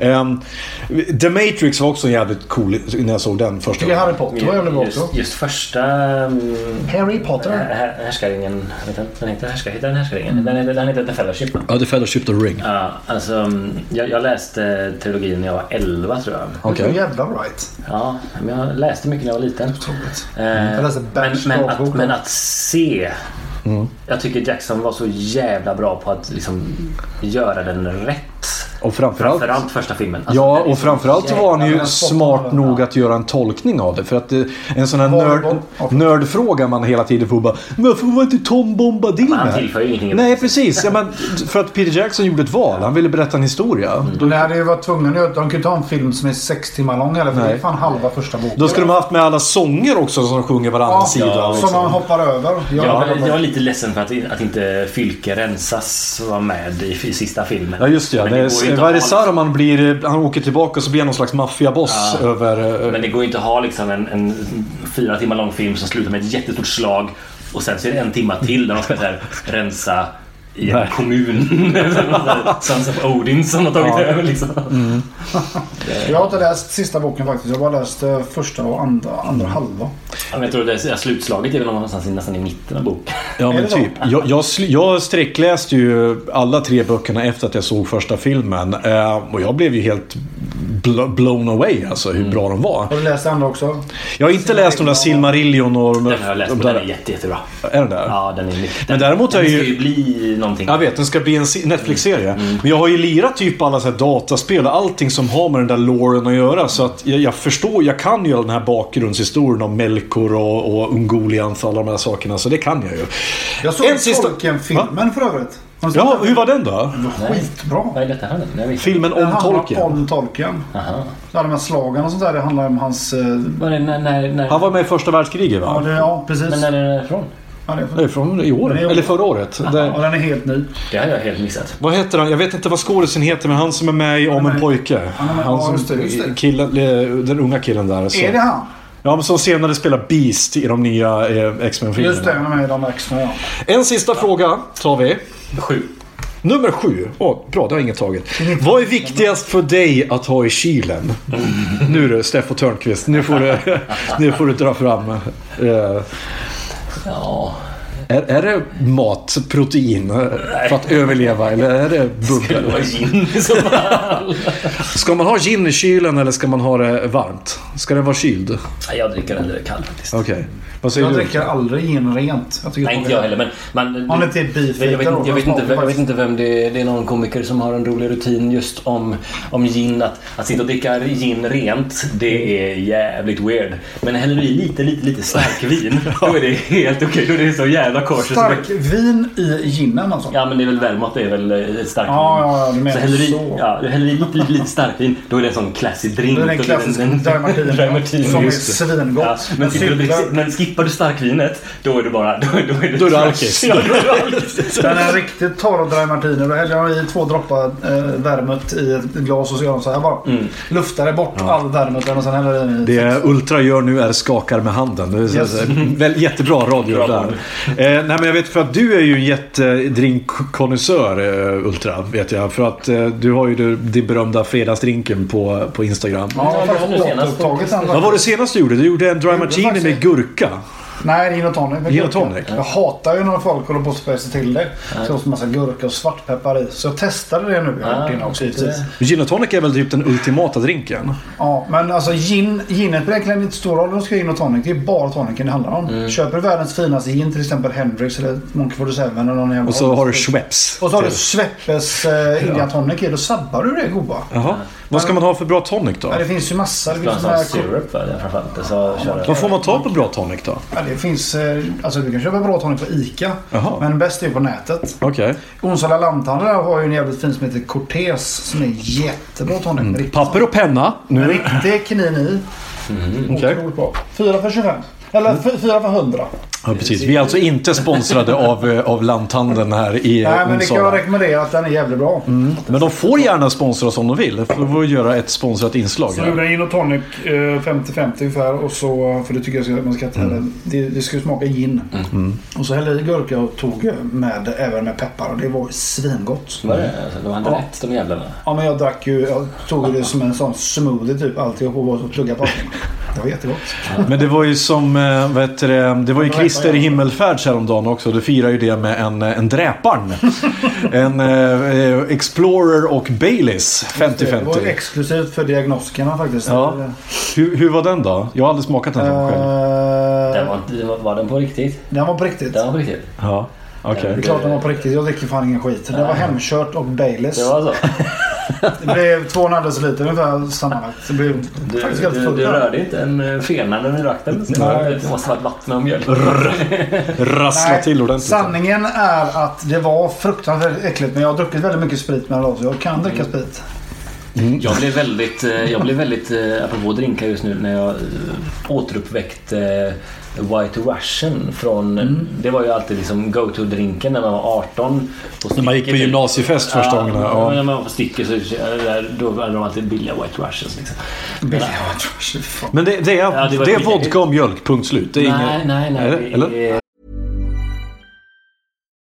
Speaker 1: Mm.
Speaker 3: Ehm, The Matrix var också jävligt cool när jag såg den första
Speaker 1: Tycker Harry Potter var jävligt bra också.
Speaker 2: Just, just första... mm,
Speaker 1: Harry Potter.
Speaker 2: Här- Härskaringen, vet jag inte, den heter härskar, heter den härskaringen? Den, heter, den heter The Fellowship va?
Speaker 3: Ja, The Fellowship of the Ring.
Speaker 2: Ja, alltså, mm, jag, jag läste trilogin när jag var 11 tror jag.
Speaker 3: Okej.
Speaker 1: Det är jävla right.
Speaker 2: Ja, men jag läste mycket när jag var liten.
Speaker 1: Otroligt.
Speaker 2: Eh,
Speaker 1: Jag läste
Speaker 2: men,
Speaker 1: Batch
Speaker 2: men,
Speaker 1: dagbok
Speaker 2: att,
Speaker 1: då.
Speaker 2: men att se.
Speaker 3: Mm.
Speaker 2: Jag tycker Jackson var så jävla bra på att liksom göra den rätt.
Speaker 3: Och framförallt...
Speaker 2: Framförallt första filmen. Alltså,
Speaker 3: Ja,
Speaker 2: den är
Speaker 3: och
Speaker 2: så
Speaker 3: framförallt så var han
Speaker 1: jävla
Speaker 3: ju
Speaker 1: bra.
Speaker 3: smart nog att göra en tolkning av det. För att eh, en sån här
Speaker 1: Var-
Speaker 3: nörd,
Speaker 1: var-
Speaker 3: nördfråga man hela tiden får bara Varför var inte Tom Bombadil
Speaker 2: han
Speaker 3: med?"
Speaker 2: tillför ju ingenting.
Speaker 3: Nej, precis. Ja, men, för att Peter Jackson gjorde ett val. Han ville berätta en historia.
Speaker 1: De hade ju varit tvungna att göra... De kunde inte ha en film som är sex timmar lång eller För
Speaker 3: Nej.
Speaker 1: det är fan halva första boken.
Speaker 3: Då skulle de ha haft med alla sånger också som sjunger varannan sida. liksom.
Speaker 1: som man hoppar över. Jag
Speaker 2: Jag,
Speaker 1: hoppar
Speaker 2: var-
Speaker 1: över.
Speaker 2: jag var lite ledsen för att, att inte Fylke Rensas var med i, i sista filmen.
Speaker 3: Ja just det, ja.
Speaker 2: Men
Speaker 3: det
Speaker 2: det går ju
Speaker 3: är,
Speaker 2: inte
Speaker 3: vad är det
Speaker 2: att ha- liksom-
Speaker 3: Saruman blir? Han åker tillbaka och så blir han någon slags maffiaboss över... eh,
Speaker 2: Men det går ju inte att ha liksom en, en fyra timmar lång film som slutar med ett jättestort slag och sen så är det en timma till där de ska så här, rensa i en
Speaker 3: Nej.
Speaker 2: kommun. Sons of Odin som har tagit över liksom.
Speaker 1: Jag har inte läst sista boken faktiskt. Jag har bara läst eh, första och andra, andra halva.
Speaker 2: Ja, men Jag tror det är slutslaget är väl någonstans i- nästan i mitten av boken.
Speaker 3: Ja
Speaker 1: Är
Speaker 3: men
Speaker 1: det så?
Speaker 3: typ. Jag, jag, sl- jag sträckläste ju alla tre böckerna efter att jag såg första filmen. Eh, och jag blev ju helt bl- blown away alltså
Speaker 1: Mm.
Speaker 3: hur bra de var.
Speaker 1: Har du läst det andra också?
Speaker 3: Jag har inte läst de där Silmarillion och... de-
Speaker 2: Den har jag läst
Speaker 3: de
Speaker 2: och
Speaker 3: där-
Speaker 2: den är jätte, jättebra.
Speaker 3: Är den där?
Speaker 2: Ja, den är mycket.
Speaker 3: Men däremot
Speaker 2: den
Speaker 3: är
Speaker 2: ska
Speaker 3: ju-
Speaker 2: ju bli någonting.
Speaker 3: Jag vet, den ska bli en se- Netflix-serie.
Speaker 2: Mm.
Speaker 3: Men jag har ju lirat typ alla så här dataspel och allting som har med den där loren att göra. Så att jag, jag förstår, jag kan ju all den här bakgrundshistorien om Melkor och, och Ungoliant och alla de här sakerna. Så det kan jag ju.
Speaker 1: Jag såg
Speaker 3: En sista-
Speaker 1: Tolkien-filmen för övrigt. Har du sett
Speaker 3: Ja,
Speaker 1: den?
Speaker 3: hur var den då?
Speaker 1: Den var skitbra.
Speaker 2: Vad är detta för någonting? Jag vet inte.
Speaker 3: Filmen
Speaker 1: Mm. Den
Speaker 3: om
Speaker 1: handlar
Speaker 3: Tolkien.
Speaker 1: om Tolkien.
Speaker 2: Aha.
Speaker 1: Alla de här slagen och sånt där. Det handlar om hans... eh,
Speaker 2: Var det, när, när, när,
Speaker 3: Han var med i första världskriget
Speaker 1: Ja,
Speaker 3: va?
Speaker 1: det, ja precis.
Speaker 2: Men när är den ifrån?
Speaker 1: Ja, det är för-
Speaker 3: Nej, från i år.
Speaker 1: Det är i år.
Speaker 3: Eller förra året.
Speaker 1: ja,
Speaker 3: Det,
Speaker 1: den är helt ny.
Speaker 2: Det har jag helt missat.
Speaker 3: vad heter han? Jag vet inte vad skådisen heter, men han som är med i Om en pojke.
Speaker 1: men-
Speaker 3: Han
Speaker 1: ja, just det,
Speaker 3: som,
Speaker 1: just det.
Speaker 3: killen, eh, den unga killen där. Så.
Speaker 1: Är det han?
Speaker 3: Ja, men som senare spelar Beast i de nya eh, X-Men-filmerna.
Speaker 1: Just det, han är med i de extra ja.
Speaker 3: En sista fråga tar vi.
Speaker 2: Sju.
Speaker 3: Nummer sju. Åh, bra, det har inget taget. Vad är viktigast för dig att ha i kylen? Nu du, Steffo Törnqvist. Nu får du, nu får du dra fram. eh,
Speaker 2: Ja.
Speaker 3: Är, är det mat, protein eh, för att överleva eller är det
Speaker 2: Skulle
Speaker 3: bubbel?
Speaker 2: vara gin i så fall.
Speaker 3: Ska man ha gin i kylen eller ska man ha det varmt? Ska den vara kyld?
Speaker 2: Nej, jag dricker hellre kall faktiskt.
Speaker 3: Okej. Vad säger
Speaker 1: Jag
Speaker 3: du?
Speaker 1: dricker aldrig gin rent. Jag tycker
Speaker 2: Nej, inte jag heller. Men, man,
Speaker 1: Om det inte är beef
Speaker 2: jag, vet,
Speaker 1: då,
Speaker 2: inte- jag, vet inte,
Speaker 1: smakar
Speaker 2: jag vet
Speaker 1: faktiskt.
Speaker 2: inte vem det är. Det är någon komiker som har en rolig rutin just om, om gin. Att, att sitta och dricka gin rent, det är jävligt weird. Men häller du i lite, lite, lite starkvin, då är det helt okej. Då är det så jävla kors.
Speaker 1: Stark vin i ginen alltså?
Speaker 2: Ja, men det är väl Vermouth, det är väl eh, starkvin.
Speaker 1: Ja, ja, ja, du menar
Speaker 2: så. Häller du i,
Speaker 1: så.
Speaker 2: ja, du häller i lite, lite, lite starkvin, då är det en sån classy drink.
Speaker 1: Det är
Speaker 2: Då
Speaker 1: den klassiska
Speaker 2: en- en-
Speaker 1: dry martini,
Speaker 2: dry martini,
Speaker 1: som är
Speaker 2: just det.
Speaker 1: svingott.
Speaker 2: Ja, men,
Speaker 1: Den
Speaker 2: sitter du och dricker,
Speaker 1: cyklar-
Speaker 2: men skippar du starkvinet, då är du bara... Då, då är du
Speaker 3: Då är du
Speaker 2: trash.
Speaker 3: alkis.
Speaker 2: Ja, då är du alkis.
Speaker 1: Den är riktigt torr och dry martini. Då häller jag i två droppar eh, vermouth i ett glas och så gör de så här bara.
Speaker 2: Mm.
Speaker 1: Luftar det bort all vermouthen och sen häller jag i.
Speaker 3: Det Ultra gör nu är skakar med handen. Det är så-
Speaker 1: Yes.
Speaker 3: väl, jättebra radio
Speaker 2: Bra
Speaker 3: där.
Speaker 2: radio.
Speaker 3: Eh, nej, men jag vet för att du är ju en jättedrinkkonnässör eh, Ultra. Vet jag. För att eh, du har ju du- din berömda fredagsdrinken på, på Instagram.
Speaker 1: Ja, jag har
Speaker 2: Ja, det var nu
Speaker 1: faktiskt
Speaker 2: senast.
Speaker 1: återupptagit den.
Speaker 3: Vad var det senaste du gjorde? Du gjorde en dry martini
Speaker 1: faktiskt-
Speaker 3: med gurka.
Speaker 1: Nej, gin och tonic.
Speaker 3: Gin och tonic?
Speaker 1: Jag hatar ju när folk håller på och spejsar till det. Så det är massa gurka och svartpeppar i. Så jag testade det nu. Jag har
Speaker 2: Ah,
Speaker 1: gjort innan också
Speaker 2: just det.
Speaker 1: givetvis.
Speaker 3: Gin och tonic är väl typ den ultimata drinken?
Speaker 1: Ja, men alltså gin, ginet spelar egentligen inte stor roll om du ska ha gin och tonic. Det är bara tonicen det handlar om. Köper du världens finaste gin, till exempel Hendrix eller Monkey 47 eller någon jävla
Speaker 3: Och så har du Schweppes.
Speaker 1: Och så har du
Speaker 3: till.
Speaker 1: Sveppes eh, India Tonic i. Då sabbar du det goda.
Speaker 3: Jaha. Vad ska man ha för bra tonic då?
Speaker 1: Ja, det finns ju massa. Det
Speaker 2: Det var
Speaker 1: finns,
Speaker 2: en
Speaker 1: såna
Speaker 2: sån
Speaker 1: här,
Speaker 2: syrup va, det framförallt. Så kör jag.
Speaker 3: Vad får man ta på bra tonic då?
Speaker 1: ja, det finns eh, alltså du kan köpa bra tonic på ICA.
Speaker 3: Jaha.
Speaker 1: Men bäst är på nätet.
Speaker 3: Okej.
Speaker 1: Onsala lanthandel där har ju en jävligt fin som heter Cortez som är jättebra tonic. med riktigt-
Speaker 3: Mm. Papper och penna.
Speaker 1: med
Speaker 3: Nu.
Speaker 1: riktig knin i.
Speaker 3: Okej.
Speaker 1: Otroligt bra. 4 för 25. Eller
Speaker 3: Mm.
Speaker 1: f- fyra för 100.
Speaker 3: Ja, precis. Vi är alltså inte sponsrade av, eh, av lanthandeln här i eh,
Speaker 1: Nej men det kan jag
Speaker 3: Onsala. Mm.
Speaker 1: rekommendera att den är jävligt bra.
Speaker 3: Men de får gärna sponsra oss om de vill. För att göra ett sponsrat inslag.
Speaker 1: Så gjorde
Speaker 3: Här.
Speaker 1: jag gin och tonic eh, 50-50 ungefär. Och så, för det tycker jag ska, man ska inte
Speaker 3: Mm.
Speaker 1: hälla. Det, det ska ju smaka gin. Och så hällde jag i gurka och tog med, även med peppar. Och det var svingott.
Speaker 2: Var det? Alltså, De hade
Speaker 1: Ja.
Speaker 2: rätt de jävlarna.
Speaker 1: Ja men jag drack ju, jag tog ju det som en sån smoothie typ. Alltihop och bara plugga på. Det var jättegott.
Speaker 3: Men det var ju som eh, vad heter det, det var ju Christer i himmelfärd häromdagen också. Du firar ju det med en, eh, en dräparn. En eh, eh, Explorer och Baileys
Speaker 1: Det var
Speaker 3: 50-50.
Speaker 1: exklusivt för diagnostikerna faktiskt.
Speaker 3: Ja.
Speaker 1: Eh,
Speaker 3: Hur, hur var den då? Jag har aldrig smakat den här själv.
Speaker 2: Den var, inte- var- var den på riktigt?
Speaker 1: Den var på riktigt.
Speaker 2: Den var på riktigt.
Speaker 3: Ja, okej.
Speaker 1: Det är klart den var på riktigt. Jag dricker fan ingen skit. Det var hemkört och Baileys.
Speaker 2: Det var så?
Speaker 1: Det blev två och en halv deciliter ungefär sammanlagt. Det blev
Speaker 2: Du,
Speaker 1: faktiskt ganska
Speaker 2: du,
Speaker 1: fullt.
Speaker 2: du
Speaker 1: där.
Speaker 2: rörde inte en eh, fena när du drack den. Så
Speaker 1: Nej.
Speaker 2: Det måste ha varit vatten och mjölk.
Speaker 3: Eh, Rassla
Speaker 1: Nej,
Speaker 3: till ordentligt.
Speaker 1: Sanningen är att det var fruktansvärt äckligt. Men jag har druckit väldigt mycket sprit med alla så jag kan dricka sprit.
Speaker 2: Jag blev väldigt, eh, jag blev väldigt eh, apropå drinkar just nu, när jag eh, återuppväckte eh, White Russian från,
Speaker 3: Mm.
Speaker 2: det var ju alltid liksom go-to-drinken när man var 18.
Speaker 3: När man gick på gymnasiefest första
Speaker 2: ja,
Speaker 3: gången, ja.
Speaker 2: Ja, när man var på Sticker så där, då var de alltid billiga White Russians. Liksom.
Speaker 1: Billiga Fy fan.
Speaker 3: Men det, det är,
Speaker 2: Ja, det
Speaker 3: det
Speaker 2: var
Speaker 3: är
Speaker 2: lite-
Speaker 3: vodka och mjölk, punkt slut. Det är
Speaker 2: nej,
Speaker 3: inget-
Speaker 2: nej, nej.
Speaker 3: Är det?
Speaker 2: det
Speaker 3: Eller?
Speaker 2: är-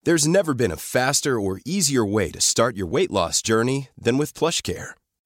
Speaker 4: There's never been a faster or easier way to start your weight loss journey than with PlushCare.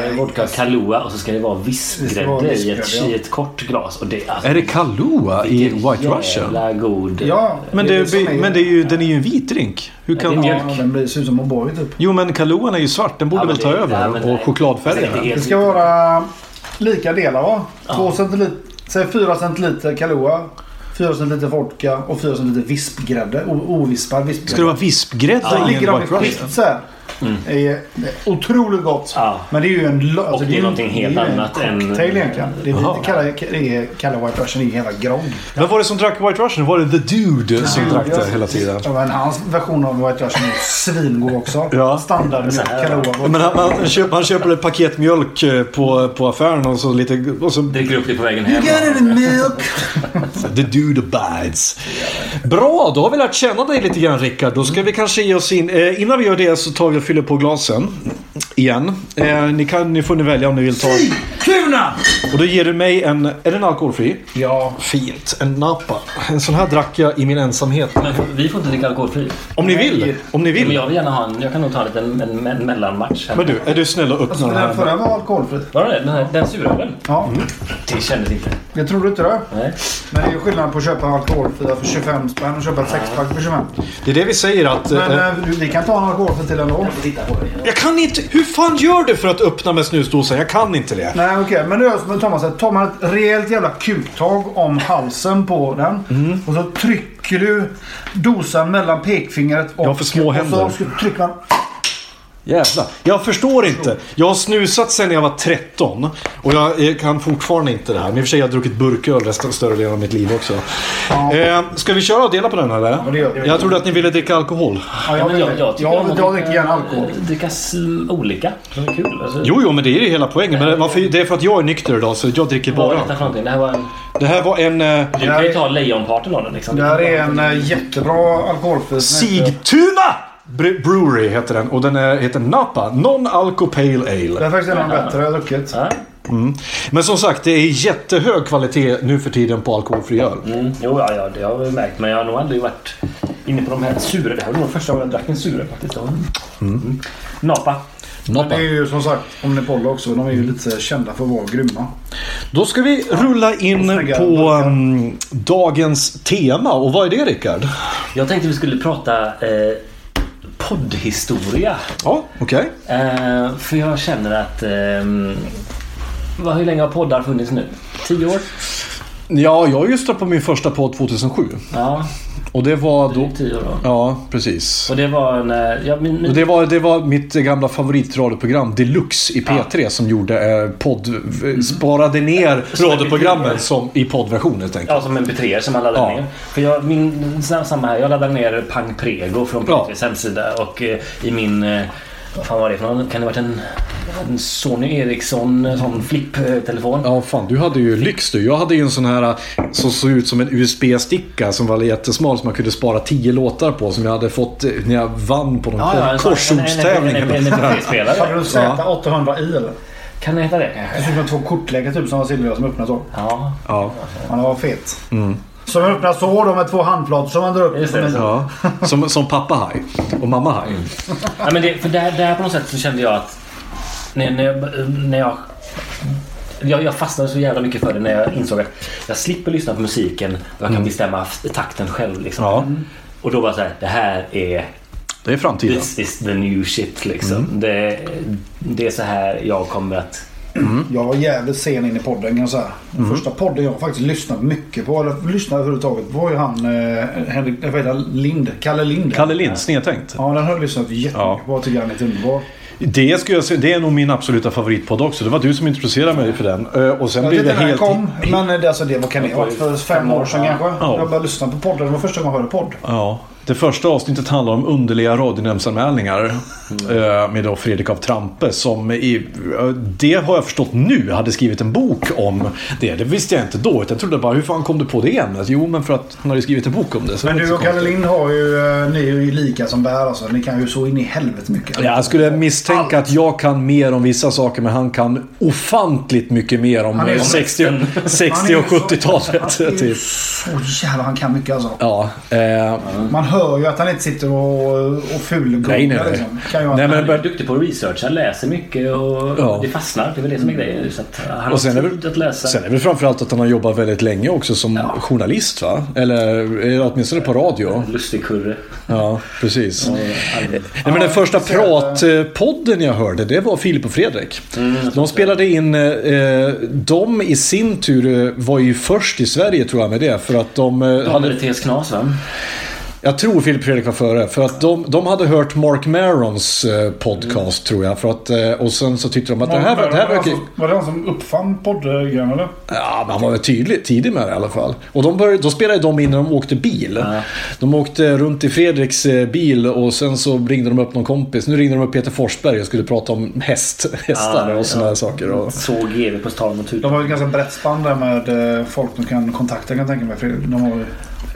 Speaker 2: eh, Vodka Kahlua och så ska det vara
Speaker 1: Det ska vara
Speaker 2: vispgrädde i, ett,
Speaker 1: vispgrädde, ja.
Speaker 2: i ett kort glas. Och det, alltså,
Speaker 3: Är det Kahlua i White Russian?
Speaker 2: Jävla god.
Speaker 1: Ja,
Speaker 3: Men, det,
Speaker 1: som
Speaker 3: är- men det är ju, den är ju en vit drink. Hur
Speaker 2: det är
Speaker 3: kan...
Speaker 2: mjölk.
Speaker 1: Ja, den blir, ser ut som O'boy typ.
Speaker 3: Jo men Kahlua är ju svart. Den borde
Speaker 2: Ja, men
Speaker 3: väl ta
Speaker 2: det- ja, men
Speaker 3: över?
Speaker 2: det-
Speaker 3: och chokladfärgen.
Speaker 2: är-
Speaker 1: Det ska vara lika delar va? Två centiliter, säg 4 centiliter Kahlua, 4 centiliter vodka och 4 centiliter vispgrädde. O- Ovispad vispgrädde.
Speaker 3: Ska det vara vispgrädde i en
Speaker 1: ligger de i
Speaker 3: White Russian?
Speaker 1: skikt så här. Det är otroligt gott.
Speaker 2: Mm. Ja.
Speaker 1: Men det är ju en... lo- Alltså,
Speaker 2: det är någonting helt
Speaker 1: det är ju
Speaker 2: annat
Speaker 1: en
Speaker 2: än-
Speaker 1: cocktail egentligen. Det är
Speaker 3: Jaha.
Speaker 1: lite kalla, det är kalla White Russian. Det är en jävla grogg.
Speaker 3: Vem var det som drack White Russian? Var det The Dude som drack det hela tiden?
Speaker 1: Ja, men hans version av White Russian är svingod också.
Speaker 3: Ja.
Speaker 1: Standard med Kahlua.
Speaker 3: Men han, man, köper, han köper ett paket mjölk eh, på, på affären och så lite... Och så,
Speaker 2: Dricker upp det på vägen hem.
Speaker 1: milk.
Speaker 3: the Dude abides. Bra, då har vi lärt känna dig lite grann Rickard. Då ska vi kanske ge oss in... Eh, innan vi gör det så tar vi och fyller på glasen. Igen. Eh, ni, kan, ni får ni välja om ni vill ta...
Speaker 1: Kuna!
Speaker 3: Och då ger du mig en... Är den alkoholfri?
Speaker 1: Ja.
Speaker 3: Fint. En Napa. En sån här drack jag i min ensamhet.
Speaker 2: Men vi får inte dricka alkoholfri.
Speaker 3: Om ni vill. Om ni
Speaker 2: Men
Speaker 3: vill.
Speaker 2: jag vill gärna ha en, jag kan nog ta en liten en, en mellanmatch. Här.
Speaker 3: Men du, är du snäll och öppna
Speaker 1: Den
Speaker 3: den
Speaker 1: här
Speaker 3: här?
Speaker 1: förra var alkoholfri.
Speaker 2: Var det det? den här, den surölen?
Speaker 1: Ja,
Speaker 2: Det kändes inte.
Speaker 1: det tror du inte det?
Speaker 2: Nej.
Speaker 1: Men det är ju skillnad på att köpa alkoholfria för 25 spänn och köpa ett sexpack för 25.
Speaker 3: Det är det vi säger att...
Speaker 1: Men
Speaker 3: eh,
Speaker 1: eh, vi kan ta en alkoholfri till ändå.
Speaker 3: Jag kan inte... Hur fan gör du för att öppna med snusdosan? Jag kan inte det.
Speaker 1: Nej okej, men det gör som Thomas säger. Tar man ett rejält jävla kuktag om halsen på den.
Speaker 3: Mhm.
Speaker 1: Och så trycker du dosan mellan pekfingret och...
Speaker 3: Jag har för små händer.
Speaker 1: Och så trycker man...
Speaker 3: Jävlar. Jag förstår inte. Jag har snusat sedan jag var 13. Och jag eh, kan fortfarande inte det här. Men i och för sig har jag druckit burköl resten större delen av mitt liv också. Eh, ska vi köra och dela på den eller?
Speaker 1: det gör vi.
Speaker 3: Jag trodde att ni ville dricka alkohol.
Speaker 1: Ja, jag,
Speaker 2: Men
Speaker 1: vill det.
Speaker 2: tycker om
Speaker 1: jag,
Speaker 2: att eh,
Speaker 1: jag, dricker gärna alkohol.
Speaker 2: Dricka sl- olika. Det är kul. Alltså,
Speaker 3: Jo, jo, men det är ju hela poängen. Men varför, det är för att jag är nykter idag så jag dricker
Speaker 2: Vad var detta
Speaker 3: bara.
Speaker 2: för någonting? Det här var en...
Speaker 3: Det här var en eh,
Speaker 2: Du kan ju ta lejonparten av den liksom.
Speaker 1: Det här är en eh, jättebra alkoholfri.
Speaker 3: Sigtuna Bre- Brewery heter den. Och den är, heter Napa. Non-Alco Pale Ale.
Speaker 1: Det är faktiskt en av de bättre jag har druckit.
Speaker 2: Ja.
Speaker 3: Men som sagt, det är jättehög kvalitet nu för tiden på alkoholfri öl.
Speaker 2: Mm. Jo, ja, ja, det har jag väl märkt. Men jag har nog aldrig varit inne på de här sura. Det här var nog första gången jag drack en sura faktiskt. Mm. Napa.
Speaker 1: Det är ju som sagt Omnipollo också. De är ju lite så här kända för att vara grymma.
Speaker 3: Då ska vi rulla in
Speaker 1: Snygga.
Speaker 3: på mm, dagens tema. Och vad är det Rickard?
Speaker 2: Jag tänkte vi skulle prata eh, poddhistoria.
Speaker 3: Ja, okej.
Speaker 2: Eh, för jag känner att... ehm, vad, hur länge har poddar funnits nu? Tio år?
Speaker 3: Ja, jag just på min första podd 2007.
Speaker 2: Ja,
Speaker 3: Och det var då...
Speaker 2: drygt tio år då.
Speaker 3: Ja, precis.
Speaker 2: Och det var när... Ja, min,
Speaker 3: Och
Speaker 2: min,
Speaker 3: det, var, det var mitt gamla favoritradioprogram Deluxe i P3 som gjorde eh, podd... v- Sparade ner radioprogrammen som, i poddversion helt enkelt.
Speaker 2: ja, som en betreer som man laddade
Speaker 3: Ja.
Speaker 2: ner. För jag, min, sam- samma här, jag laddade ner Pang Prego från
Speaker 3: Ja.
Speaker 2: P3s hemsida och eh, i min... Eh, vad fan var det för någon? Kan det ha varit en En Sony Ericsson eh, sån flipptelefon.
Speaker 3: Ja, fan. Du hade ju lyx du. Jag hade ju en sån här som såg ut som en USB-sticka som var jättesmal som man kunde spara tio låtar på. Som jag hade fått eh, när jag vann på någon
Speaker 2: Ja, ja, en sån-
Speaker 3: korsordstävling.
Speaker 2: en- en- en- en- en- en-
Speaker 1: Hade
Speaker 2: spelare.
Speaker 1: du Z800i eller?
Speaker 2: Kan det heta det kanske?
Speaker 1: Det såg ut som två kortläggare typ som var silvriga som öppnas så.
Speaker 2: Ja.
Speaker 3: Ja,
Speaker 1: Han var fet.
Speaker 3: Mm.
Speaker 1: Som öppnas så då med två handflator som man drar upp.
Speaker 2: Just det,
Speaker 1: Som en-
Speaker 2: så.
Speaker 3: ja. Som, som pappa haj och mamma haj.
Speaker 2: Ja, men det, för där, där på något sätt så kände jag att när, när, jag- när jag, jag... Jag fastnade så jävla mycket för det när jag insåg att jag slipper lyssna på musiken och jag kan bestämma f- takten själv. Liksom.
Speaker 3: Mm. Ja.
Speaker 2: Och då bara så här, det här är...
Speaker 3: Det är framtiden.
Speaker 2: This is the new shit liksom.
Speaker 3: Mm.
Speaker 2: Det, det är så här jag kommer att...
Speaker 1: Jag var jävligt sen in i podden kan jag säga. Den
Speaker 3: Mm.
Speaker 1: första podden jag faktiskt lyssnat mycket på, eller lyssnade överhuvudtaget, var ju han eh, Henrik, eh, vad heter han? Lind. Kalle Lind.
Speaker 3: Kalle Lind, snedtänkt.
Speaker 1: Ja, den har jag lyssnat jättemycket
Speaker 3: Ja.
Speaker 1: på. Jag tycker han är helt underbar.
Speaker 3: Det, skulle jag säga, det är nog min absoluta favoritpodd också. Det var du som introducerade mig för den. Eh, Och sen
Speaker 1: Jag
Speaker 3: blev
Speaker 1: tyckte
Speaker 3: det
Speaker 1: den
Speaker 3: helt...
Speaker 1: kom, men eh, det, alltså, det var, kan det ha varit för fem år sedan kanske?
Speaker 3: Ja.
Speaker 1: Jag började lyssna på podden. Det var första gången jag hörde podd.
Speaker 3: Ja. Det första avsnittet handlar om underliga radionämndsanmälningar eh, med då Fredrik af Trampe som i, eh, det har jag förstått nu hade skrivit en bok om det. Det visste jag inte då. utan Jag trodde bara hur fan kom du på det ämnet? Jo men för att han hade skrivit en bok om det. Så
Speaker 1: Men
Speaker 3: det var
Speaker 1: du
Speaker 3: inte
Speaker 1: och
Speaker 3: så
Speaker 1: Kalle
Speaker 3: konstigt.
Speaker 1: Lind har ju, eh, ni är ju lika som bär alltså. Ni kan ju så in i helvete mycket.
Speaker 3: Ja, Jag skulle misstänka att jag kan mer om vissa saker men han kan ofantligt mycket mer om
Speaker 1: Han är
Speaker 3: eh,
Speaker 1: ju
Speaker 3: 60, 60 och 70-talet. Typ.
Speaker 1: Åh jävlar, han kan mycket alltså.
Speaker 3: Ja, eh,
Speaker 1: Man hör ju att han inte sitter och, och fulgooglar.
Speaker 3: Nej, nej, nej.
Speaker 1: Kan ju
Speaker 3: Nej,
Speaker 1: nej,
Speaker 3: men-
Speaker 1: men...
Speaker 2: Han är ju duktig på research, han läser mycket och
Speaker 3: Ja. Mm.
Speaker 2: det fastnar. Det är väl det som är grejen. Så att han
Speaker 3: Och sen är
Speaker 2: har
Speaker 3: väl-
Speaker 2: tid att läsa.
Speaker 3: Sen är det framförallt att han har jobbat väldigt länge också som journalist va? Eller eh, åtminstone på radio.
Speaker 2: Lustig kurre.
Speaker 3: Ja, precis.
Speaker 2: Alvin.
Speaker 3: Nej, men den första
Speaker 1: ser det.
Speaker 3: pratpodden jag hörde, det var Filip och Fredrik. de spelade in, eh, de i sin tur eh, var ju först i Sverige tror jag med det. För att de, eh,
Speaker 2: Han hade TS Knas va?
Speaker 3: jag tror Filip och Fredrik var före. För att de, de hade hört Mark Marons eh, podcast tror jag. För att, eh, och sen så tyckte de att det här, var- det här verkar...
Speaker 1: Var det han som uppfann poddgrejen eller?
Speaker 3: Ja, men han var väl tydlig, tidig med det i alla fall. Och de började, då spelade de in när de åkte bil. De åkte runt i Fredriks eh, bil och sen så ringde de upp någon kompis. Nu ringde de upp Peter Forsberg och skulle prata om häst, hästar
Speaker 2: Ja,
Speaker 3: och sådana
Speaker 2: ja.
Speaker 3: här saker. Och,
Speaker 2: Såg GW på tal mot
Speaker 1: De
Speaker 2: tutan.
Speaker 1: har ju ett ganska brett spann där med eh, folk de kan kontakta kan jag tänka mig. För de har ju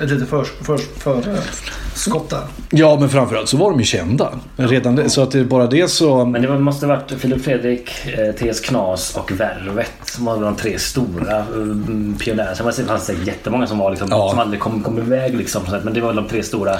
Speaker 1: ett litet förs förs för, skott där.
Speaker 3: ja, men framförallt så var de ju kända. Redan det, så att det är bara det så...
Speaker 2: Men det var- måste ha varit Filip Fredrik, eh, TS Knas och Värvet som var de tre stora eh, pionjärerna. Sen var det- fanns det jättemånga som, var liksom,
Speaker 3: Ja.
Speaker 2: som aldrig kom, kom iväg. Liksom, så att- men det var väl de tre stora